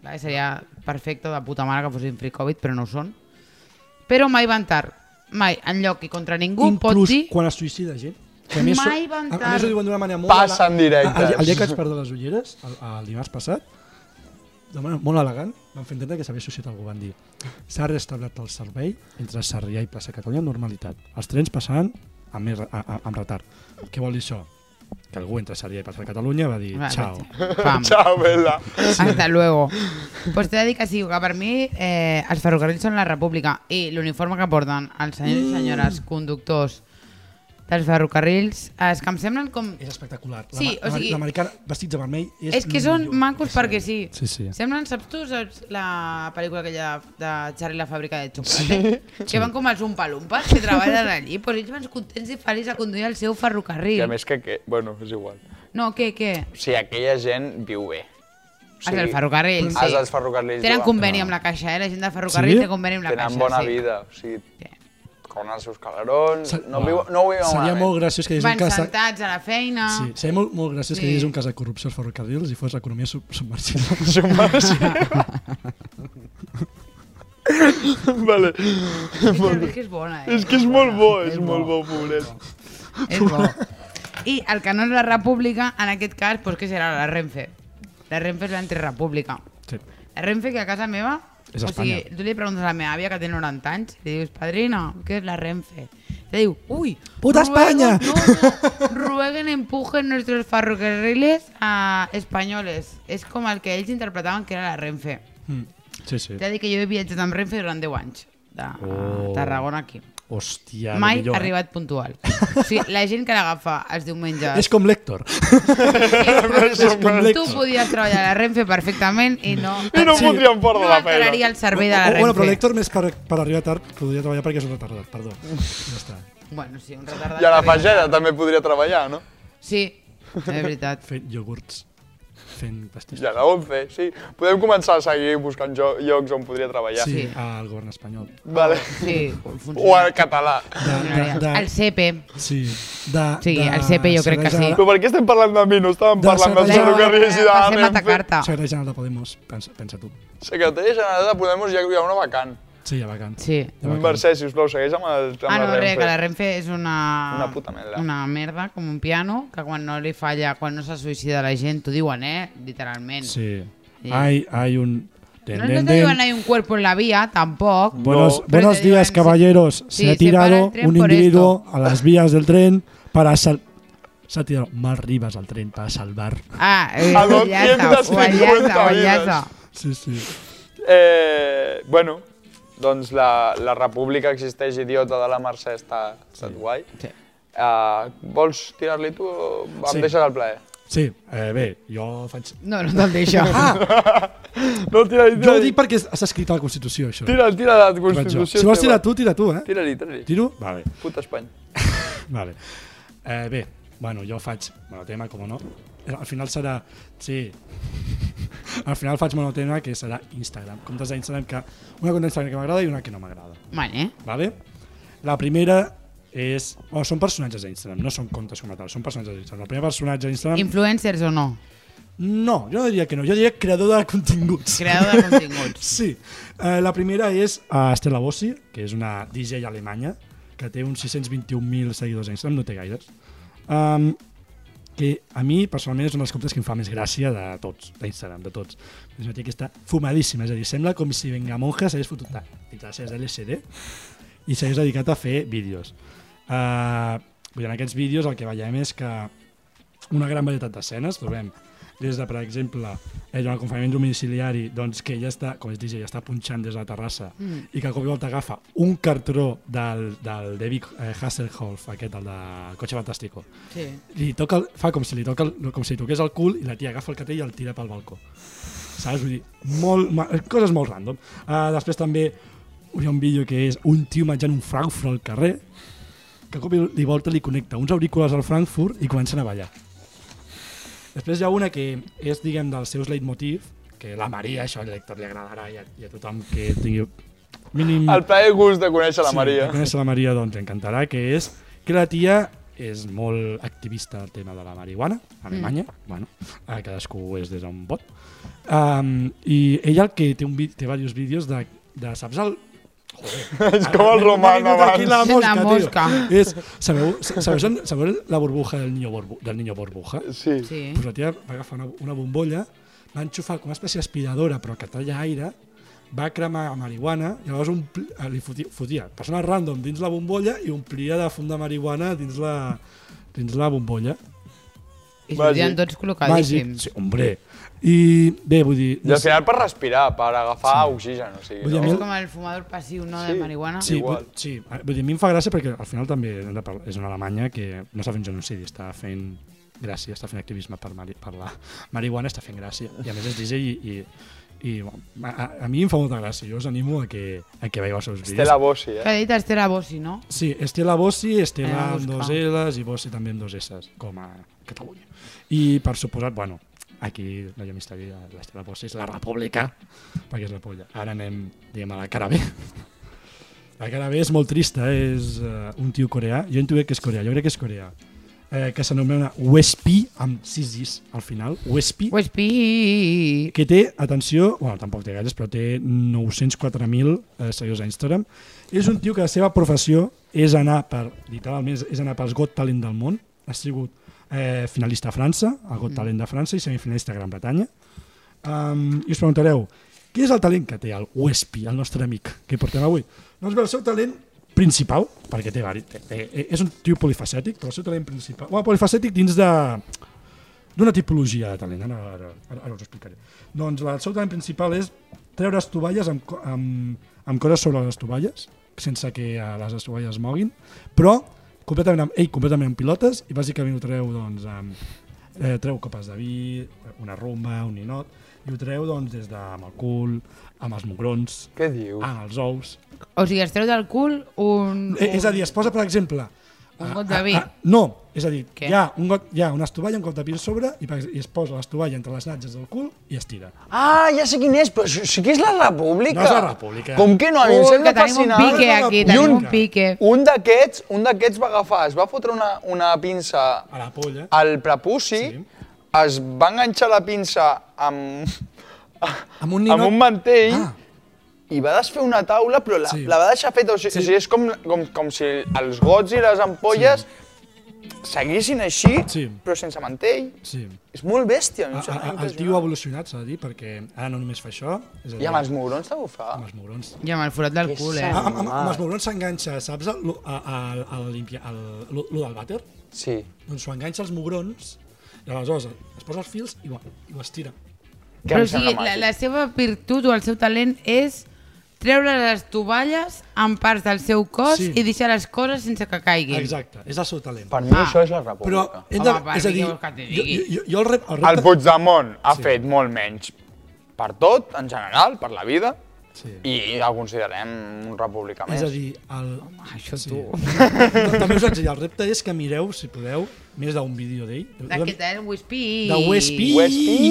Speaker 3: Vale, seria perfecte de puta mare que fossin free covid, però no ho són. Però mai van tard. Mai, enlloc i contra ningú pot
Speaker 4: Inclús
Speaker 3: dir...
Speaker 4: quan es suïcida gent. Que
Speaker 3: Mai
Speaker 4: ho-
Speaker 3: van
Speaker 4: A
Speaker 3: tard.
Speaker 4: més ho diuen d'una manera molt...
Speaker 2: Passa en directe.
Speaker 4: El, el dia que vaig perdre les ulleres, el, el dimarts passat, de manera molt elegant, van fer entendre que s'havia associat algú. Van dir, s'ha restablert el servei entre Sarrià i plaça Catalunya amb normalitat. Els trens passaran amb, més, a, a, amb retard. Què vol dir això? Que algú entre Sarrià i plaça Catalunya va dir,
Speaker 3: Va,
Speaker 4: ciao.
Speaker 3: Pam.
Speaker 2: Ciao, Bella.
Speaker 3: Hasta luego. Pues t'he de dir que sí, que per mi eh, els ferrocarrils són la república i l'uniforme que porten els senyors i senyores conductors dels ferrocarrils és que em semblen com...
Speaker 4: És espectacular.
Speaker 3: Sí, o sigui-
Speaker 4: L'americana vestits de vermell és...
Speaker 3: És que
Speaker 4: lo
Speaker 3: són
Speaker 4: millor.
Speaker 3: macos perquè sí.
Speaker 4: Sí, sí.
Speaker 3: Semblen, saps tu, saps la pel·lícula aquella de, de Charlie la fàbrica de xocolata? Sí. Que van com els umpalumpes que treballen allí, però ells van contents i feliç a conduir el seu
Speaker 2: I
Speaker 3: ferrocarril.
Speaker 2: a més que, que... Bueno, és igual.
Speaker 3: No, què, què?
Speaker 2: O sigui, aquella gent viu bé. O
Speaker 3: Els del ferrocarril, sí.
Speaker 2: Els dels ferrocarrils
Speaker 3: Tenen
Speaker 2: diuen,
Speaker 3: conveni amb la caixa, eh? La gent del ferrocarril
Speaker 4: Sí?
Speaker 3: té conveni amb la
Speaker 2: Tenen
Speaker 3: caixa.
Speaker 2: bona
Speaker 3: sí.
Speaker 2: vida, o sigui,
Speaker 3: Sí.
Speaker 2: con els seus calarons,
Speaker 4: Se-
Speaker 2: no,
Speaker 4: Uau.
Speaker 2: viu, no ho viuen
Speaker 4: Seria
Speaker 2: malament.
Speaker 4: molt graciós que hi hagués un
Speaker 3: Van
Speaker 4: cas...
Speaker 3: sentats a la feina.
Speaker 4: Sí, seria molt, molt graciós sí.
Speaker 3: Ah. Sí.
Speaker 4: que hi hagués un cas de corrupció als ferrocarrils i fos l'economia sub submergida.
Speaker 2: vale.
Speaker 3: És, que, és que és bona, eh?
Speaker 2: És que és molt bo, és molt bo, pobret.
Speaker 3: És bo. I el que no és la república, en aquest cas, doncs què serà la Renfe. La Renfe és l'antirepública.
Speaker 4: Sí.
Speaker 3: La Renfe, que a casa meva
Speaker 4: És
Speaker 3: O
Speaker 4: Espanya.
Speaker 3: sigui, tu li preguntes a la meva àvia que té 90 anys, li dius, padrina, què és la Renfe? Te diu, uy,
Speaker 4: Puta Espanya!
Speaker 3: No, no, rueguen, empujen nuestros ferrocarriles a españoles. És com el que ells interpretaven que era la Renfe.
Speaker 4: Mm. Sí, sí.
Speaker 3: T'he de dir que jo he viatjat amb Renfe durant 10 anys, de
Speaker 4: Oh.
Speaker 3: Tarragona aquí.
Speaker 4: Hòstia, lo
Speaker 3: Mai
Speaker 4: millor,
Speaker 3: millor,
Speaker 4: eh?
Speaker 3: arribat puntual. O sigui, la gent que l'agafa els diumenges...
Speaker 4: És com l'Hèctor. és com
Speaker 3: Tu
Speaker 4: l'Hèctor.
Speaker 3: podies treballar a la Renfe perfectament i no...
Speaker 2: I no
Speaker 4: Sí.
Speaker 2: podríem perdre
Speaker 3: no
Speaker 2: la feina.
Speaker 3: alteraria el servei de la Renfe.
Speaker 4: Bueno, però l'Hèctor més per, per arribar tard podria treballar perquè és un retardat, perdó. Ja està.
Speaker 3: Bueno, sí, un
Speaker 2: I a
Speaker 3: retardat.
Speaker 2: la
Speaker 3: terrible.
Speaker 2: pagera també podria treballar, no?
Speaker 3: Sí, és veritat.
Speaker 4: Fent iogurts, fent
Speaker 2: I
Speaker 4: pastissos.
Speaker 2: a la 11, sí. Podem començar a seguir buscant jo llocs on podria treballar.
Speaker 3: Sí.
Speaker 4: Sí, al govern espanyol.
Speaker 2: Vale.
Speaker 3: Sí,
Speaker 2: O
Speaker 3: funciona.
Speaker 2: al català.
Speaker 4: De, de, de,
Speaker 3: Ah, El CP.
Speaker 4: sí, de,
Speaker 3: Sí,
Speaker 4: de,
Speaker 3: el CP jo crec que sí.
Speaker 2: Però per què estem parlant de mi? No estàvem
Speaker 4: De
Speaker 2: parlant dels
Speaker 4: Sabadell.
Speaker 2: ferrocarrils i de
Speaker 3: Passem a
Speaker 2: la Renfe.
Speaker 3: atacar-te.
Speaker 4: Secretari General de Podemos, pensa, pensa tu.
Speaker 2: Secretari General eh, de Podemos ja hi ha una vacant.
Speaker 4: Sí, ja vacant.
Speaker 3: Sí.
Speaker 4: Ja vacant.
Speaker 2: Mercè, sisplau, segueix amb, el, amb
Speaker 3: Ah, no,
Speaker 2: la
Speaker 3: res,
Speaker 2: Renfe.
Speaker 3: que la Renfe és una...
Speaker 2: Una puta merda.
Speaker 3: Una merda, com un piano, que quan no li falla, quan no se suïcida la gent, t'ho diuen, eh? Literalment.
Speaker 4: Sí.
Speaker 3: Sí.
Speaker 4: Hay, hay un...
Speaker 3: No, no te diuen hay un cuerpo en la vía, tampoc.
Speaker 4: Buenos,
Speaker 2: No.
Speaker 3: Pero te
Speaker 4: buenos
Speaker 3: digan,
Speaker 4: días,
Speaker 3: sí.
Speaker 4: caballeros.
Speaker 3: Sí,
Speaker 4: se ha
Speaker 3: se para el
Speaker 4: tirado
Speaker 3: tren
Speaker 4: un
Speaker 3: por
Speaker 4: individuo a las vías del tren para sal... Se ha tirado más ribas al tren para salvar.
Speaker 3: Ah, eh,
Speaker 2: A
Speaker 3: guayaza,
Speaker 2: 250
Speaker 3: guayaza,
Speaker 2: vidas.
Speaker 3: guayaza.
Speaker 4: Sí, sí.
Speaker 2: Eh, bueno, doncs la, la república existeix idiota de la Mercè està, està guai.
Speaker 3: Sí.
Speaker 2: Uh, vols tirar-li tu o em
Speaker 4: Sí.
Speaker 2: deixes el plaer?
Speaker 4: Sí, eh, bé, jo faig...
Speaker 3: No, no te'l deixo.
Speaker 4: Ah.
Speaker 2: No, tira-li,
Speaker 4: Jo ho
Speaker 2: tira-li.
Speaker 4: dic perquè està escrit a la Constitució, això.
Speaker 2: Tira, tira la
Speaker 4: Vaig jo.
Speaker 2: Constitució.
Speaker 4: Si vols
Speaker 2: teva.
Speaker 4: tirar tu, tira tu, eh?
Speaker 2: Tira-li, tira-li.
Speaker 4: Tiro? Vale.
Speaker 2: Puta Espanya.
Speaker 4: Vale. Eh, bé, bueno, jo faig monotema, com no. Eh, Al final serà... Sí. Al final faig monotema, que serà Instagram. Comptes d'Instagram que... Una compta d'Instagram que m'agrada i una que no m'agrada.
Speaker 3: Vale.
Speaker 4: Vale? La primera és... Bueno, són personatges d'Instagram, no són comptes com a tal, són personatges d'Instagram. El primer personatge d'Instagram...
Speaker 3: Influencers o no?
Speaker 4: No, jo no diria que no, jo diria creador de continguts.
Speaker 3: Creador de continguts.
Speaker 4: Sí. Eh, la primera és eh, Estela Bossi, que és una DJ alemanya, que té uns 621.000 seguidors a Instagram, no té gaires. Um, que a mi, personalment, és un dels comptes que em fa més gràcia de tots, d'Instagram, de tots. És una tia que està fumadíssima, és a dir, sembla com si Venga Monja s'hagués fotut de, de classes d'LSD i s'hagués dedicat a fer vídeos. Uh, vull dir, en aquests vídeos el que veiem és que una gran varietat d'escenes, trobem des de, per exemple, eh, durant el confinament domiciliari, doncs que ja està, com es diu, ja està punxant des de la terrassa mm. i que de cop i volta agafa un cartró del, del David eh, Hasselhoff, aquest, el de Cotxe Fantástico,
Speaker 3: Sí.
Speaker 4: li toca el, fa com si li toca el, com si li toqués el cul i la tia agafa el cartell i el tira pel balcó saps? Vull dir, molt, ma- coses molt random uh, després també hi ha un vídeo que és un tio menjant un Frankfurt al carrer que cop i li volta li connecta uns aurícules al Frankfurt i comencen a ballar després hi ha una que és diguem dels seus leitmotiv que la Maria, això a l'Hector li agradarà i a, i a tothom que tingui mínim
Speaker 2: El plaer i gust de conèixer la Maria.
Speaker 4: Sí, conèixer la Maria doncs li encantarà, que és que la tia és molt activista al tema de la marihuana, a Alemanya, mm. bueno, eh, cadascú és des d'on pot. Um, I ella el que té, un vi- té diversos vídeos de, de saps el...
Speaker 2: És com el Roman abans.
Speaker 4: La
Speaker 3: abans.
Speaker 4: mosca,
Speaker 3: La mosca.
Speaker 4: Tio. És, sabeu, sabeu, sabeu, sabeu la burbuja del niño, borbu, del niño burbuja?
Speaker 2: Sí. sí.
Speaker 3: Sí.
Speaker 4: Eh? Pues la tia va agafar una, una bombolla, va enxufar com una espècie d'aspiradora però que talla aire, va cremar marihuana i llavors ompli, eh, li fotia, fotia persones random dins la bombolla i omplia de fum de marihuana dins la, dins la bombolla.
Speaker 2: Vagi.
Speaker 3: I sortien tots
Speaker 4: Màgic.
Speaker 3: col·locadíssims.
Speaker 4: Sí, hombre. I bé, vull dir...
Speaker 2: I al final per respirar, per agafar sí. oxigen, o sigui,
Speaker 4: Vull dir, a
Speaker 2: no?
Speaker 4: mi-
Speaker 3: És com el fumador passiu, no?, de
Speaker 2: Sí.
Speaker 3: marihuana.
Speaker 4: Sí,
Speaker 2: Igual.
Speaker 4: vull, sí, Ah, vull dir, a mi em fa gràcia perquè al final també hem de parlar- és una Alemanya que no està fent genocidi, està fent gràcia, està fent activisme per, mari, per la marihuana, està fent gràcia. I a més és DJ i, i, i bueno, a, a, mi em fa molta gràcia, jo us animo a que, a que veieu els seus vídeos.
Speaker 2: Té la bossi,
Speaker 3: Que
Speaker 2: eh?
Speaker 3: ha dit Estela Bossi, no?
Speaker 4: Sí, Estela Bossi, Estela
Speaker 3: Anem a
Speaker 4: amb dos
Speaker 3: buscar.
Speaker 4: L's i Bossi també amb dos S's, com a Catalunya. I per suposat, bueno, aquí la llamisteria, l'Estela Bossi és la república, perquè és la polla. Ara anem, diguem, a la cara B. La cara B és molt trista, és uh, un tio coreà, jo intuït que és coreà, jo crec que és coreà, eh, que s'anomena Wespi, amb sis is al final, Wespi,
Speaker 3: Pues pi...
Speaker 4: que té, atenció, bueno, tampoc té gaires, però té 904.000 eh, seguidors a Instagram. És un tio que la seva professió és anar per, literalment, és- és anar pels Got Talent del món. Ha sigut eh, finalista a França, al Got Talent de França i semifinalista a Gran Bretanya. Um, I us preguntareu, Qui és el talent que té el Wespi, el nostre amic, que portem avui? Doncs bé, el seu talent principal, perquè té, vari- té, té, és un tio polifacètic, però el seu talent principal... Bueno, polifacètic dins de d'una tipologia de talent, ara, ara, ara, ara us ho explicaré. Doncs el seu talent principal és treure estovalles amb, co- amb, amb coses sobre les estovalles, sense que eh, les estovalles es moguin, però completament amb, ell completament amb pilotes i bàsicament ho treu doncs, amb, eh, treu copes de vi, una rumba, un ninot, i ho treu doncs, des de amb el cul, amb els mugrons,
Speaker 2: Què dius?
Speaker 4: amb els ous...
Speaker 3: O sigui, es treu del cul un...
Speaker 4: Eh, és a dir, es posa, per exemple,
Speaker 3: Un got de vi.
Speaker 4: no, és a dir,
Speaker 3: Què?
Speaker 4: hi ha, un got, hi ha una estovalla, un cop de vi a sobre i, per- i es posa l'estovalla entre les natges del cul i es tira.
Speaker 2: Ah, ja sé quin és, però sí sí que és la República.
Speaker 4: No és la República.
Speaker 2: Com que no? A mi em
Speaker 3: Ui,
Speaker 2: sembla
Speaker 3: que tenim un
Speaker 2: fascinant.
Speaker 3: pique aquí,
Speaker 4: I
Speaker 3: tenim
Speaker 4: un-
Speaker 3: un pique.
Speaker 2: Un d'aquests, un d'aquests va agafar, es va fotre una, una pinça
Speaker 4: A la polla.
Speaker 2: al prepuci,
Speaker 4: Sí.
Speaker 2: es va enganxar la pinça amb,
Speaker 4: Amb un
Speaker 2: amb un mantell
Speaker 4: Ah.
Speaker 2: i va desfer una taula, però la,
Speaker 4: Sí.
Speaker 2: la va deixar feta. O sigui, o sigui és com, com, com si els gots i les ampolles seguissin així,
Speaker 4: Sí.
Speaker 2: però sense mantell.
Speaker 4: Sí.
Speaker 2: És molt bèstia. a mi em
Speaker 4: A, a,
Speaker 2: sembla
Speaker 4: a, el
Speaker 2: impressionant.
Speaker 4: tio ha evolucionat, s'ha de dir, perquè ara no només fa això, és a dir,
Speaker 2: I amb els Ah, mugrons també ho fa.
Speaker 4: amb els mugrons.
Speaker 3: I amb el forat del cul, eh?
Speaker 4: Amb, amb, amb els mugrons s'enganxa, saps, el, el, el, limpia- el, el, el del vàter?
Speaker 2: Sí.
Speaker 4: Doncs s'ho enganxa als mugrons i aleshores es posa els fils i ho, i ho estira.
Speaker 2: Que em
Speaker 3: Però o sigui,
Speaker 2: sembla
Speaker 3: la,
Speaker 2: màgic.
Speaker 3: la seva virtut o el seu talent és treure les tovalles en parts del seu cos
Speaker 4: Sí.
Speaker 3: i deixar les coses sense que caiguin.
Speaker 4: Exacte, és el seu talent.
Speaker 2: Per mi
Speaker 3: Ah.
Speaker 2: això és la
Speaker 4: Però,
Speaker 2: república.
Speaker 4: hem de,
Speaker 3: Home, per
Speaker 4: és a
Speaker 3: mi
Speaker 4: dir,
Speaker 3: què vols que t'hi
Speaker 4: jo,
Speaker 3: digui?
Speaker 4: jo, jo el, rep, el
Speaker 2: El
Speaker 4: repte...
Speaker 2: Puigdemont ha fet molt menys per tot, en general, per la vida,
Speaker 4: Sí.
Speaker 2: i el considerem un republicà més.
Speaker 4: És a dir, el...
Speaker 3: Això
Speaker 4: Sí.
Speaker 3: tu.
Speaker 4: També us haig de dir, el repte és que mireu, si podeu, més d'un vídeo d'ell. Heu de-
Speaker 3: D'aquest és Wispy.
Speaker 4: de Westpi.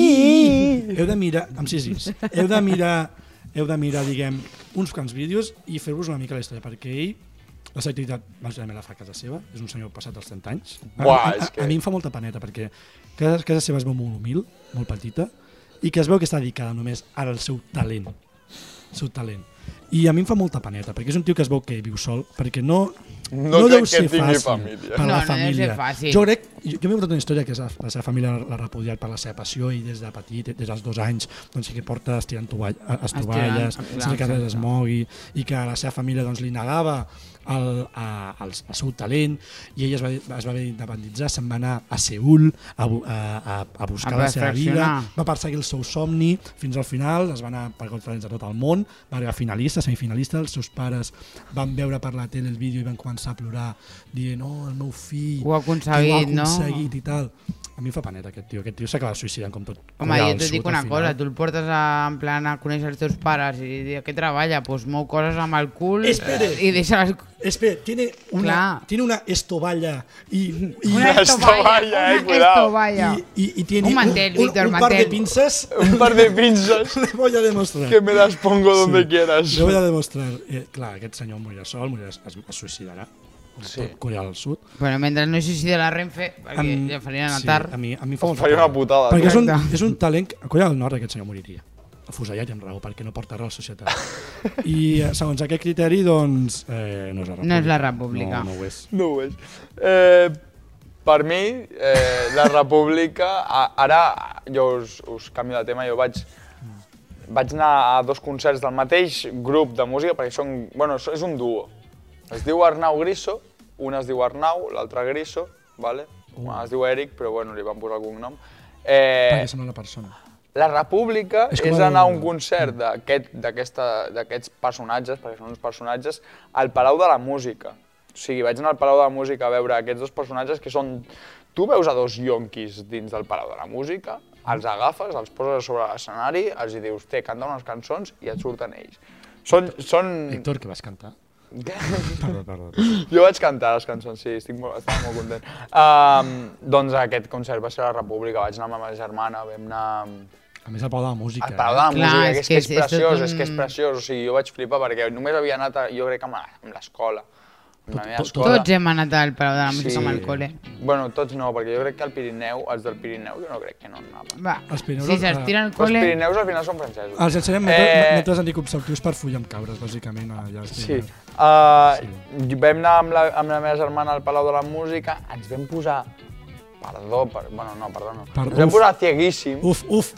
Speaker 2: Westpi.
Speaker 4: Heu de mirar, amb sis is, heu de mirar, heu de mirar, diguem, uns quants vídeos i fer-vos una mica la història, perquè ell la seva activitat bàsicament la fa a casa seva, és un senyor passat als 30 anys. A-
Speaker 2: Buah,
Speaker 4: a,
Speaker 2: és
Speaker 4: a,
Speaker 2: que-
Speaker 4: a, mi em fa molta paneta, perquè casa, casa seva es veu molt humil, molt petita, i que es veu que està dedicada només al seu talent. El seu talent. I a mi em fa molta paneta, perquè és un tio que es veu que viu sol, perquè no,
Speaker 2: No crec que tingui família.
Speaker 4: per
Speaker 3: No,
Speaker 4: la
Speaker 3: no deu ser
Speaker 4: família.
Speaker 3: fàcil.
Speaker 4: Jo crec, jo, jo m'he contat una història que és la, la seva família l'ha l'ha repudiat per la seva passió i des de petit, des dels dos anys, doncs sí que porta estirant tovall, a- estovalles,
Speaker 3: Estirant,
Speaker 4: sense que
Speaker 3: clar,
Speaker 4: res es mogui, i que la seva família doncs, li negava el, a, el, el seu talent i ell es va, es va haver d'independitzar, se'n va anar a Seul a, bu- a, a, a buscar
Speaker 3: A
Speaker 4: la seva vida,
Speaker 3: perfeccionar.
Speaker 4: va perseguir el seu somni fins al final, es va anar per conferències de tot el món, va arribar finalista, semifinalista, els seus pares van veure per la tele el vídeo i van començar a plorar dient, oh, el meu fill,
Speaker 3: Ho ha aconseguit,
Speaker 4: que ho
Speaker 3: no?"
Speaker 4: ha aconseguit i tal. A mi em fa paneta aquest tio, aquest tio s'acaba suïcidant com tot. eh?
Speaker 3: Home,
Speaker 4: Corea
Speaker 3: jo
Speaker 4: del
Speaker 3: t'ho
Speaker 4: Sud,
Speaker 3: dic
Speaker 4: al
Speaker 3: una
Speaker 4: final.
Speaker 3: cosa, tu el portes a, en plan a conèixer els teus pares i dir què treballa, doncs mou coses amb el cul
Speaker 4: Espere.
Speaker 3: eh, i deixa les...
Speaker 4: Espera, tiene una,
Speaker 3: Clar.
Speaker 4: tiene una estovalla y, y,
Speaker 3: Una
Speaker 2: Una estovalla, eh,
Speaker 3: estovalla, una
Speaker 2: cuidao.
Speaker 3: estovalla.
Speaker 4: y, y- y tiene
Speaker 3: Un mantel,
Speaker 4: un,
Speaker 3: Víctor,
Speaker 4: un par
Speaker 3: mantel.
Speaker 4: de pinzas.
Speaker 2: Un par de pinzas
Speaker 4: Le voy a demostrar.
Speaker 2: que me las pongo donde quieras.
Speaker 4: Le voy a demostrar. Eh, clar, aquest senyor morirà sol, morirà, es, es suïcidarà.
Speaker 2: Sí.
Speaker 4: Tot Corea del Sud.
Speaker 3: Bueno, mentre no sé si de la Renfe, perquè
Speaker 4: Em-
Speaker 3: ja farien anar
Speaker 4: sí,
Speaker 3: tard.
Speaker 4: A mi, a mi em fa molta
Speaker 2: faria una
Speaker 4: pena.
Speaker 2: putada,
Speaker 4: Perquè és un,
Speaker 3: Exacte.
Speaker 4: és un talent... que- A Corea del Nord aquest senyor moriria. Afusellat i amb raó, perquè no porta res a la societat. I eh, segons aquest criteri, doncs, eh, no és la república.
Speaker 3: No és la república.
Speaker 4: No, no ho és.
Speaker 2: No ho és. Eh, per mi, eh, la república... a- Ara, jo us, us canvio de tema, jo vaig vaig anar a dos concerts del mateix grup de música, perquè són, bueno, és un duo. Es diu Arnau Griso, un es diu Arnau, l'altre Griso, vale? Una es diu Eric, però bueno, li van posar algun nom. Eh,
Speaker 4: Perquè sembla una persona.
Speaker 2: la República és,
Speaker 4: És com el-
Speaker 2: anar a un concert d'aquest- d'aquesta- d'aquests personatges, perquè són uns personatges, al Palau de la Música. O sigui, vaig anar al Palau de la Música a veure aquests dos personatges que són... Tu veus a dos yonquis dins del Palau de la Música, els agafes, els poses a sobre l'escenari, els hi dius, té, canta unes cançons i et surten ells. Són... són...
Speaker 4: Héctor, que vas cantar. Perdó, perdó.
Speaker 2: Jo vaig cantar les cançons, sí, estic molt, estava molt content. Um, doncs aquest concert va ser a la República, vaig anar amb la meva germana, vam anar... amb-
Speaker 4: A més, el Palau de la Música. eh?
Speaker 2: El Palau de la
Speaker 3: Clar,
Speaker 2: Música,
Speaker 3: és
Speaker 2: que és,
Speaker 3: que
Speaker 2: que és,
Speaker 3: és- és tot
Speaker 2: preciós, és
Speaker 3: un-
Speaker 2: que és preciós. O sigui, jo vaig flipar perquè només havia anat, a, jo crec, amb la- amb l'escola. Amb la meva
Speaker 4: tot-
Speaker 2: escola.
Speaker 3: Tots hem anat al Palau de la Música amb el col·le.
Speaker 2: Bueno, tots no, perquè jo crec que el Pirineu, els del Pirineu, jo no crec que no anaven.
Speaker 3: Va,
Speaker 4: Els Pirineus,
Speaker 3: si s'estira el
Speaker 2: Però els
Speaker 3: col·le...
Speaker 2: Pirineus al final són francesos.
Speaker 4: Els ensenyem eh...
Speaker 2: Eh.
Speaker 4: metres anticonceptius per follar amb cabres, bàsicament. Allà,
Speaker 2: Sí. Uh, vam anar amb la, amb la meva germana al Palau de la Música, ens vam posar... Perdó, per, bueno, no, perdó, no.
Speaker 4: Per-
Speaker 2: ens vam
Speaker 4: uf.
Speaker 2: posar cieguíssim.
Speaker 4: Uf, uf.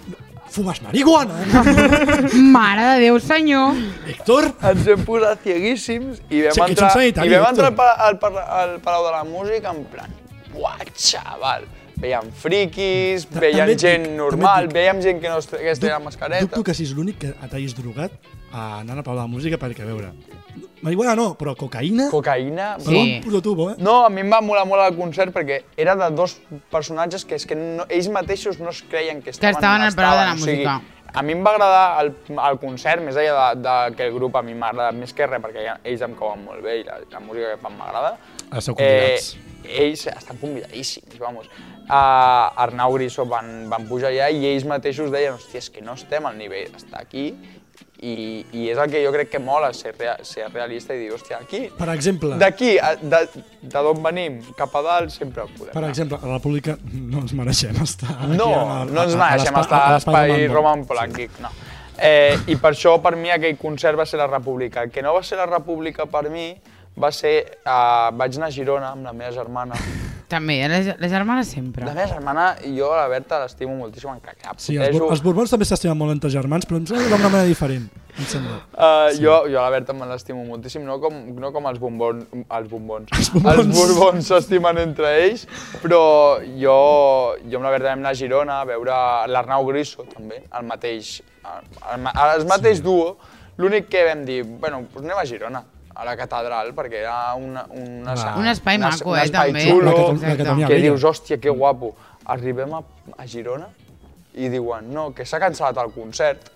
Speaker 4: Fumes marihuana? eh,
Speaker 3: Mare de Déu, senyor!
Speaker 4: Héctor?
Speaker 2: ens hem posat cieguíssims i vam
Speaker 4: Sí, que ets un
Speaker 2: entrar,
Speaker 4: sanitari,
Speaker 2: i vam
Speaker 4: Víctor.
Speaker 2: entrar al, pala- al, pala- al Palau de la Música en plan, uah, xaval, veiem friquis,
Speaker 4: Ta-
Speaker 2: veiem
Speaker 4: també et dic,
Speaker 2: gent
Speaker 4: també et
Speaker 2: normal,
Speaker 4: dic.
Speaker 2: veiem gent que no es, que es
Speaker 4: Dub-
Speaker 2: treia mascareta.
Speaker 4: Dubto que siguis l'únic que et hagis drogat a anant a parlar de música perquè, a veure, marihuana no, però cocaïna?
Speaker 2: Cocaïna?
Speaker 4: Però
Speaker 3: Sí.
Speaker 4: un puto tubo, eh?
Speaker 2: No, a mi em va molar molt el concert perquè era de dos personatges que és que no, ells mateixos no es creien que estaven,
Speaker 3: estaven
Speaker 2: on
Speaker 3: al Palau de la
Speaker 2: estaven, o sigui,
Speaker 3: Música.
Speaker 2: a mi em va agradar el, el concert, més enllà de, de que el grup a mi m'agrada més que res, perquè ja- ells em cauen molt bé i la, la música que fan m'agrada.
Speaker 6: Esteu convidats.
Speaker 2: Eh, ells estan convidadíssims, vamos. A Arnau Griso van, van pujar allà i ells mateixos deien hòstia, és que no estem al nivell d'estar aquí i, i és el que jo crec que mola, ser, rea, ser realista i dir, hòstia, aquí
Speaker 4: Per exemple,
Speaker 2: D'aquí, a- de, de d'on venim, cap a dalt, sempre podem
Speaker 4: per
Speaker 2: anar.
Speaker 4: exemple, a la República no ens mereixem estar aquí.
Speaker 2: No,
Speaker 4: a la-
Speaker 2: no ens
Speaker 4: a- a
Speaker 2: mereixem
Speaker 4: l'espai-
Speaker 2: estar a l'espai
Speaker 4: Roman
Speaker 2: Roman Polanquic, no. Eh, I per això, per mi, aquell concert va ser la República. El que no va ser la República per mi va ser... Eh, vaig anar a Girona amb la meva germana.
Speaker 3: També, eh, les, les germanes
Speaker 2: La
Speaker 3: sempre.
Speaker 2: meva germana, jo, la Berta, l'estimo moltíssim, encara que la
Speaker 4: Sí, els,
Speaker 2: protejo.
Speaker 4: bor els Borbons també s'estimen molt entre germans, però em sembla que d'una manera diferent, em sembla.
Speaker 2: Uh, sí. jo, jo a la Berta me l'estimo moltíssim, no com, no com els, bombon, els bombons. Els
Speaker 4: bombons.
Speaker 2: Els borbons s'estimen entre ells, però jo, jo amb la Berta vam anar a Girona a veure l'Arnau Griso, també, el mateix, el, el, ma- el mateix sí. duo. L'únic que vam dir, bueno, doncs anem a Girona, a la catedral, perquè era una, una, sa-
Speaker 4: Ah,
Speaker 3: Un espai
Speaker 2: una-
Speaker 3: maco,
Speaker 2: un
Speaker 3: eh,
Speaker 2: espai
Speaker 3: també.
Speaker 2: Xulo,
Speaker 4: La,
Speaker 3: Però-
Speaker 4: Catalu la
Speaker 3: Exacte.
Speaker 4: Catalunya
Speaker 2: que
Speaker 4: Vella.
Speaker 2: dius, hòstia, que guapo, arribem a, a Girona i diuen, no, que s'ha cancel·lat el concert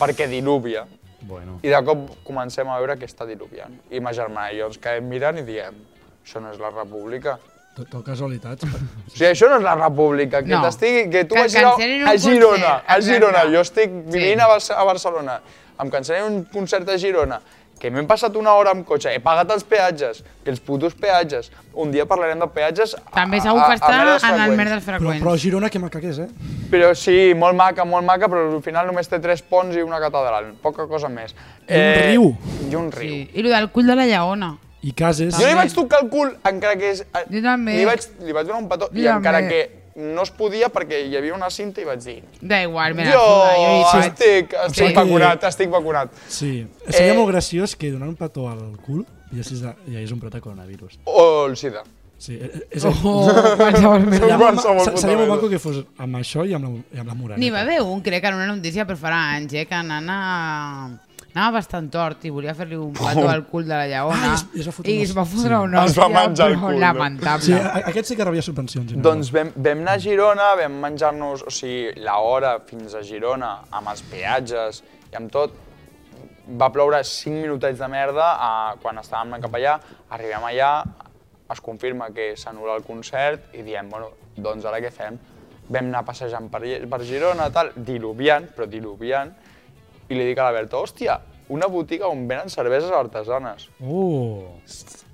Speaker 2: perquè diluvia.
Speaker 6: Bueno.
Speaker 2: I de cop comencem a veure que està diluviant. I ma germana i jo ens quedem mirant i diem, això no és la república.
Speaker 4: Tot, tot casualitats.
Speaker 2: O sigui, això no és la república, que,
Speaker 3: No.
Speaker 2: t'estigui, que tu
Speaker 3: Que
Speaker 2: vagis a,
Speaker 3: cancel·lin un
Speaker 2: a Girona,
Speaker 3: concert,
Speaker 2: a
Speaker 3: exacte.
Speaker 2: Girona, jo estic vivint
Speaker 3: Sí.
Speaker 2: a, Bar- a Barcelona, em cancel·lin un concert a Girona, que m'he passat una hora amb cotxe, he pagat els peatges, que els putos peatges, un dia parlarem de peatges a-
Speaker 3: També segur
Speaker 4: Ah,
Speaker 2: a-
Speaker 3: que
Speaker 2: a
Speaker 3: està
Speaker 2: merdes
Speaker 3: en el
Speaker 2: freqüents.
Speaker 3: merdes
Speaker 4: Però, però
Speaker 3: freqüents.
Speaker 4: Girona, que maca que és, eh?
Speaker 2: Però sí, molt maca, molt maca, però al final només té tres ponts i una catedral, poca cosa més. Eh,
Speaker 4: I un riu.
Speaker 2: I un riu.
Speaker 3: Sí. I el del cul de la lleona.
Speaker 4: I cases...
Speaker 2: Jo li vaig tocar el cul, encara que... És, eh,
Speaker 3: Jo també.
Speaker 2: Li vaig, li vaig donar un petó
Speaker 3: Jo
Speaker 2: i encara
Speaker 3: també.
Speaker 2: que no es podia perquè hi havia una cinta i vaig dir...
Speaker 3: Da igual, me la
Speaker 2: Jo
Speaker 3: suda, jo hi vaig.
Speaker 2: estic, estic
Speaker 3: Sí.
Speaker 2: vacunat, estic vacunat.
Speaker 4: Sí, seria
Speaker 2: Eh.
Speaker 4: molt graciós que donant un petó al cul i així de, ja és un petó de coronavirus.
Speaker 2: O el sida.
Speaker 4: Sí, eh, eh, és a dir,
Speaker 3: Oh, qualsevol merda.
Speaker 4: seria molt ma-
Speaker 2: Qualsevol
Speaker 4: se-
Speaker 2: puta
Speaker 4: seria molt
Speaker 2: merda.
Speaker 4: maco que fos amb això i amb la, i amb la moraneta.
Speaker 3: N'hi va haver un, crec, en una notícia, però farà anys, eh, que anava, anava bastant tort i volia fer-li un petó al cul de la lleona.
Speaker 4: Ah, i es- i es va fotre
Speaker 3: I
Speaker 4: una-
Speaker 3: es va fotre una
Speaker 2: Oh. Es va
Speaker 3: hòstia,
Speaker 2: menjar el
Speaker 3: però
Speaker 2: cul, no?
Speaker 4: Sí, ah.
Speaker 3: Lamentable.
Speaker 4: a- a- aquest sí que rebia subvencions. generalment.
Speaker 2: Doncs vam, vam anar a Girona, vam menjar-nos, o sigui, l'hora fins a Girona, amb els peatges i amb tot, va ploure 5 minutets de merda eh, quan estàvem cap allà, arribem allà, es confirma que s'anul·la el concert i diem, bueno, doncs ara què fem? Vam anar passejant per, per Girona, tal, diluviant, però diluviant, i li dic a la Berta, hòstia, una botiga on venen cerveses artesanes.
Speaker 4: Oh,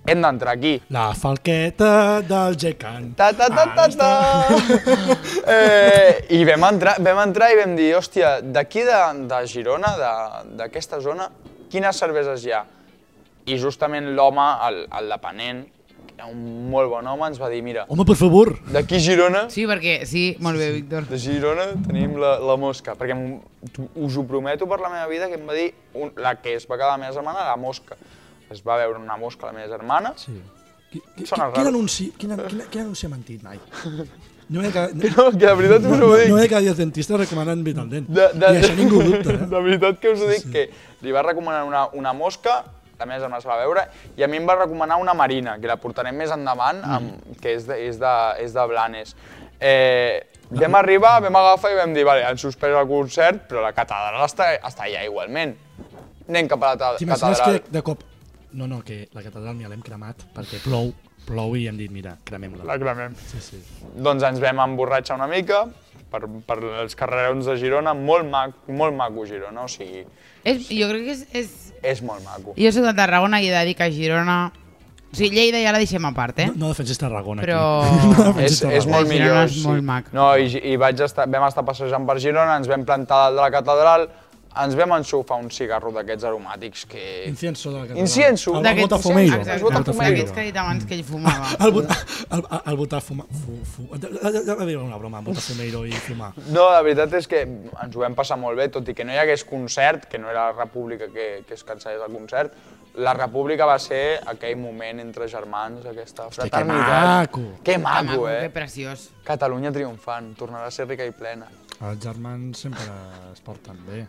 Speaker 2: Hem d'entrar aquí.
Speaker 4: la falqueta del Jecan.
Speaker 2: Ta, ta, ta, ta, ta. Eh, I vam entrar, vam entrar i vam dir, hòstia, d'aquí de, de Girona, de- d'aquesta zona, quines cerveses hi ha? I justament l'home, el, el depenent, que era un molt bon home, ens va dir, mira,
Speaker 4: Home, per favor.
Speaker 2: d'aquí Girona,
Speaker 3: Sí, perquè... Sí, molt bé, Víctor.
Speaker 2: de Girona tenim la, la mosca, perquè m'ho- t'ho- us ho prometo per la meva vida que em va dir un, la que es va quedar la meva germana, la mosca. Es va veure una mosca a la meva germana,
Speaker 4: Sí. Qui, qui,
Speaker 2: Sona
Speaker 4: quin,
Speaker 2: raro.
Speaker 4: anunci, quin, an- quin, quin anunci ha mentit mai? No he de cada,
Speaker 2: no, que de veritat us ho dic.
Speaker 4: no he de cada dia dentista recomanant Vitaldent.
Speaker 2: De, de,
Speaker 4: I això ningú ho dubta. Eh?
Speaker 2: De veritat que us ho dic, que li va recomanar una, una mosca, la meva germana se la va veure, i a mi em va recomanar una marina, que la portarem més endavant,
Speaker 4: Mm.
Speaker 2: amb, que és de, és de, és de Blanes. Eh, vam arribar, vam agafar i vam dir, vale, han suspès el concert, però la catedral està, està allà igualment. Anem cap a la ta-
Speaker 4: T'imagines
Speaker 2: catedral.
Speaker 4: que de cop... No, no, que la catedral ni l'hem cremat perquè plou, plou i hem dit, mira, cremem-la.
Speaker 2: La cremem.
Speaker 4: Sí, sí.
Speaker 2: Doncs ens vam emborratxar una mica per, per els carrerons de Girona, molt maco, molt maco Girona, o sigui,
Speaker 3: És, jo crec que és, és...
Speaker 2: és molt maco.
Speaker 3: Jo soc de Tarragona i he de dir que Girona... O sigui, Lleida ja la deixem a part, eh?
Speaker 4: No, no defensis Tarragona,
Speaker 3: Però-
Speaker 4: aquí. No
Speaker 2: És,
Speaker 4: defensis
Speaker 2: és
Speaker 4: Tarragona.
Speaker 2: molt
Speaker 3: Girona
Speaker 2: millor.
Speaker 3: és molt maco.
Speaker 2: No, i, i vaig estar, vam estar passejant per Girona, ens vam plantar dalt de la catedral, ens vam ensufar un cigarro d'aquests aromàtics que...
Speaker 7: Incienso de la catalana.
Speaker 2: Incienso.
Speaker 7: El, el
Speaker 3: D'aquests-
Speaker 7: botafumeiro.
Speaker 3: Exacte,
Speaker 2: El botafumeiro.
Speaker 3: D'aquests que he dit abans que ell fumava.
Speaker 7: El, bot, el, el botar fumar... Fu, fu, ja, ja, ja va dir una broma, botar fumeiro i fumar.
Speaker 2: No, la veritat és que ens ho vam passar molt bé, tot i que no hi hagués concert, que no era la República que, que es cancel·lés el concert, la República va ser aquell moment entre germans, aquesta fraternitat.
Speaker 7: maco.
Speaker 2: Que
Speaker 3: Que
Speaker 2: maco,
Speaker 3: Que
Speaker 2: eh?
Speaker 3: preciós.
Speaker 2: Catalunya triomfant, tornarà a ser rica i plena.
Speaker 4: Els germans sempre es porten bé.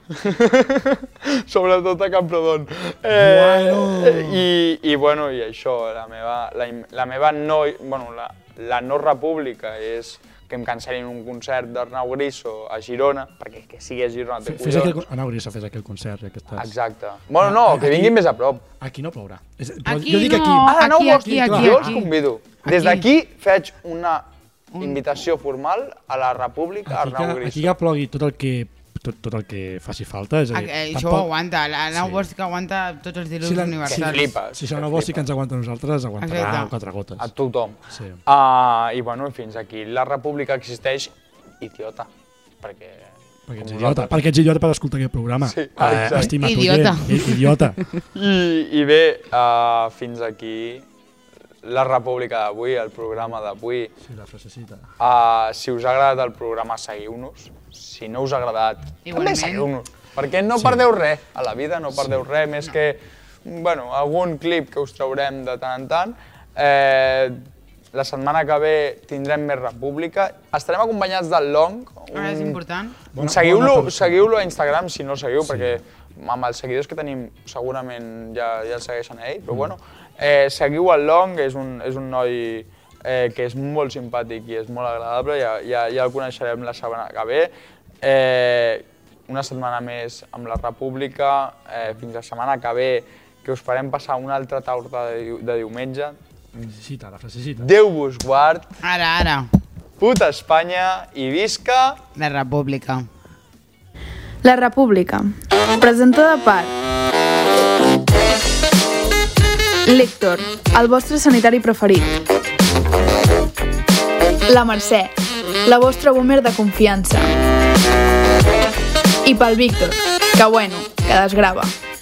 Speaker 2: Sobretot a Camprodon. Eh,
Speaker 7: Bueno.
Speaker 2: i, I bueno, i això, la meva, la, im- la meva no, bueno, la, la no república és que em cancel·lin un concert d'Arnau Griso a Girona, perquè que sigui a Girona té
Speaker 4: Fes aquell,
Speaker 2: collons.
Speaker 4: con- Anau Grisa, fes aquell concert, ja que estàs.
Speaker 2: Exacte. Bueno, no, que
Speaker 7: Aquí-
Speaker 2: vinguin més a prop.
Speaker 7: Aquí no plourà. És, però
Speaker 3: Aquí
Speaker 7: jo dic
Speaker 3: no,
Speaker 7: aquí.
Speaker 2: Ara no
Speaker 3: aquí,
Speaker 2: ho
Speaker 3: aquí,
Speaker 2: explico.
Speaker 3: aquí,
Speaker 2: Jo els
Speaker 3: aquí.
Speaker 2: convido. Des d'aquí faig una invitació formal a la República
Speaker 7: Aquí
Speaker 2: Arnau
Speaker 7: que,
Speaker 2: Griso.
Speaker 7: aquí que plogui tot el que, tot, tot el que faci falta. És a
Speaker 3: Aquí,
Speaker 7: dir,
Speaker 3: eh, això ho aguanta, la nau sí. que aguanta tots els
Speaker 7: Sí,
Speaker 3: diluvis
Speaker 7: la-
Speaker 2: Que
Speaker 3: universals.
Speaker 2: flipes.
Speaker 7: Si serà una bossa que ens aguanta a nosaltres, aguantarà
Speaker 3: Exacte.
Speaker 7: quatre gotes.
Speaker 2: A tothom.
Speaker 7: Sí.
Speaker 2: Ah, I bueno, fins aquí. La República existeix idiota. Perquè...
Speaker 7: Perquè ets idiota,
Speaker 2: com nosaltres.
Speaker 7: perquè ets idiota per escoltar aquest programa.
Speaker 2: Sí,
Speaker 7: Sí,
Speaker 2: exacte.
Speaker 7: eh, estima
Speaker 3: Idiota.
Speaker 7: Tu, gent, i- idiota.
Speaker 2: I, i bé, uh, fins aquí la República d'avui, el programa d'avui.
Speaker 7: Sí, la frasecita.
Speaker 2: Uh, si us ha agradat el programa, seguiu-nos. Si no us ha agradat, també
Speaker 3: Igualment.
Speaker 2: seguiu-nos. Perquè no perdeu res. A la vida no perdeu res, més que bueno, algun clip que us traurem de tant en tant. Eh, la setmana que ve tindrem més república. Estarem acompanyats del Long.
Speaker 3: Ara
Speaker 2: Eh.
Speaker 3: és important.
Speaker 2: Seguiu-lo seguiu-lo a Instagram si no el seguiu, perquè amb els seguidors que tenim segurament ja, ja el segueixen a ell, però bueno. Eh, seguiu el Long, és un, és un noi eh, que és molt simpàtic i és molt agradable, ja, ja, ja el coneixerem la setmana que ve. Eh, una setmana més amb la República, eh, fins la setmana que ve, que us farem passar una altra taula de, diu- de diumenge.
Speaker 7: Frasecita, la frasecita.
Speaker 2: Déu vos guard,
Speaker 3: Ara, ara,
Speaker 2: puta Espanya i visca...
Speaker 3: la república.
Speaker 1: La República. Presentada per... Lector, el vostre sanitari preferit. La Mercè, la vostra boomer de confiança. I pel Víctor, que bueno, que desgrava.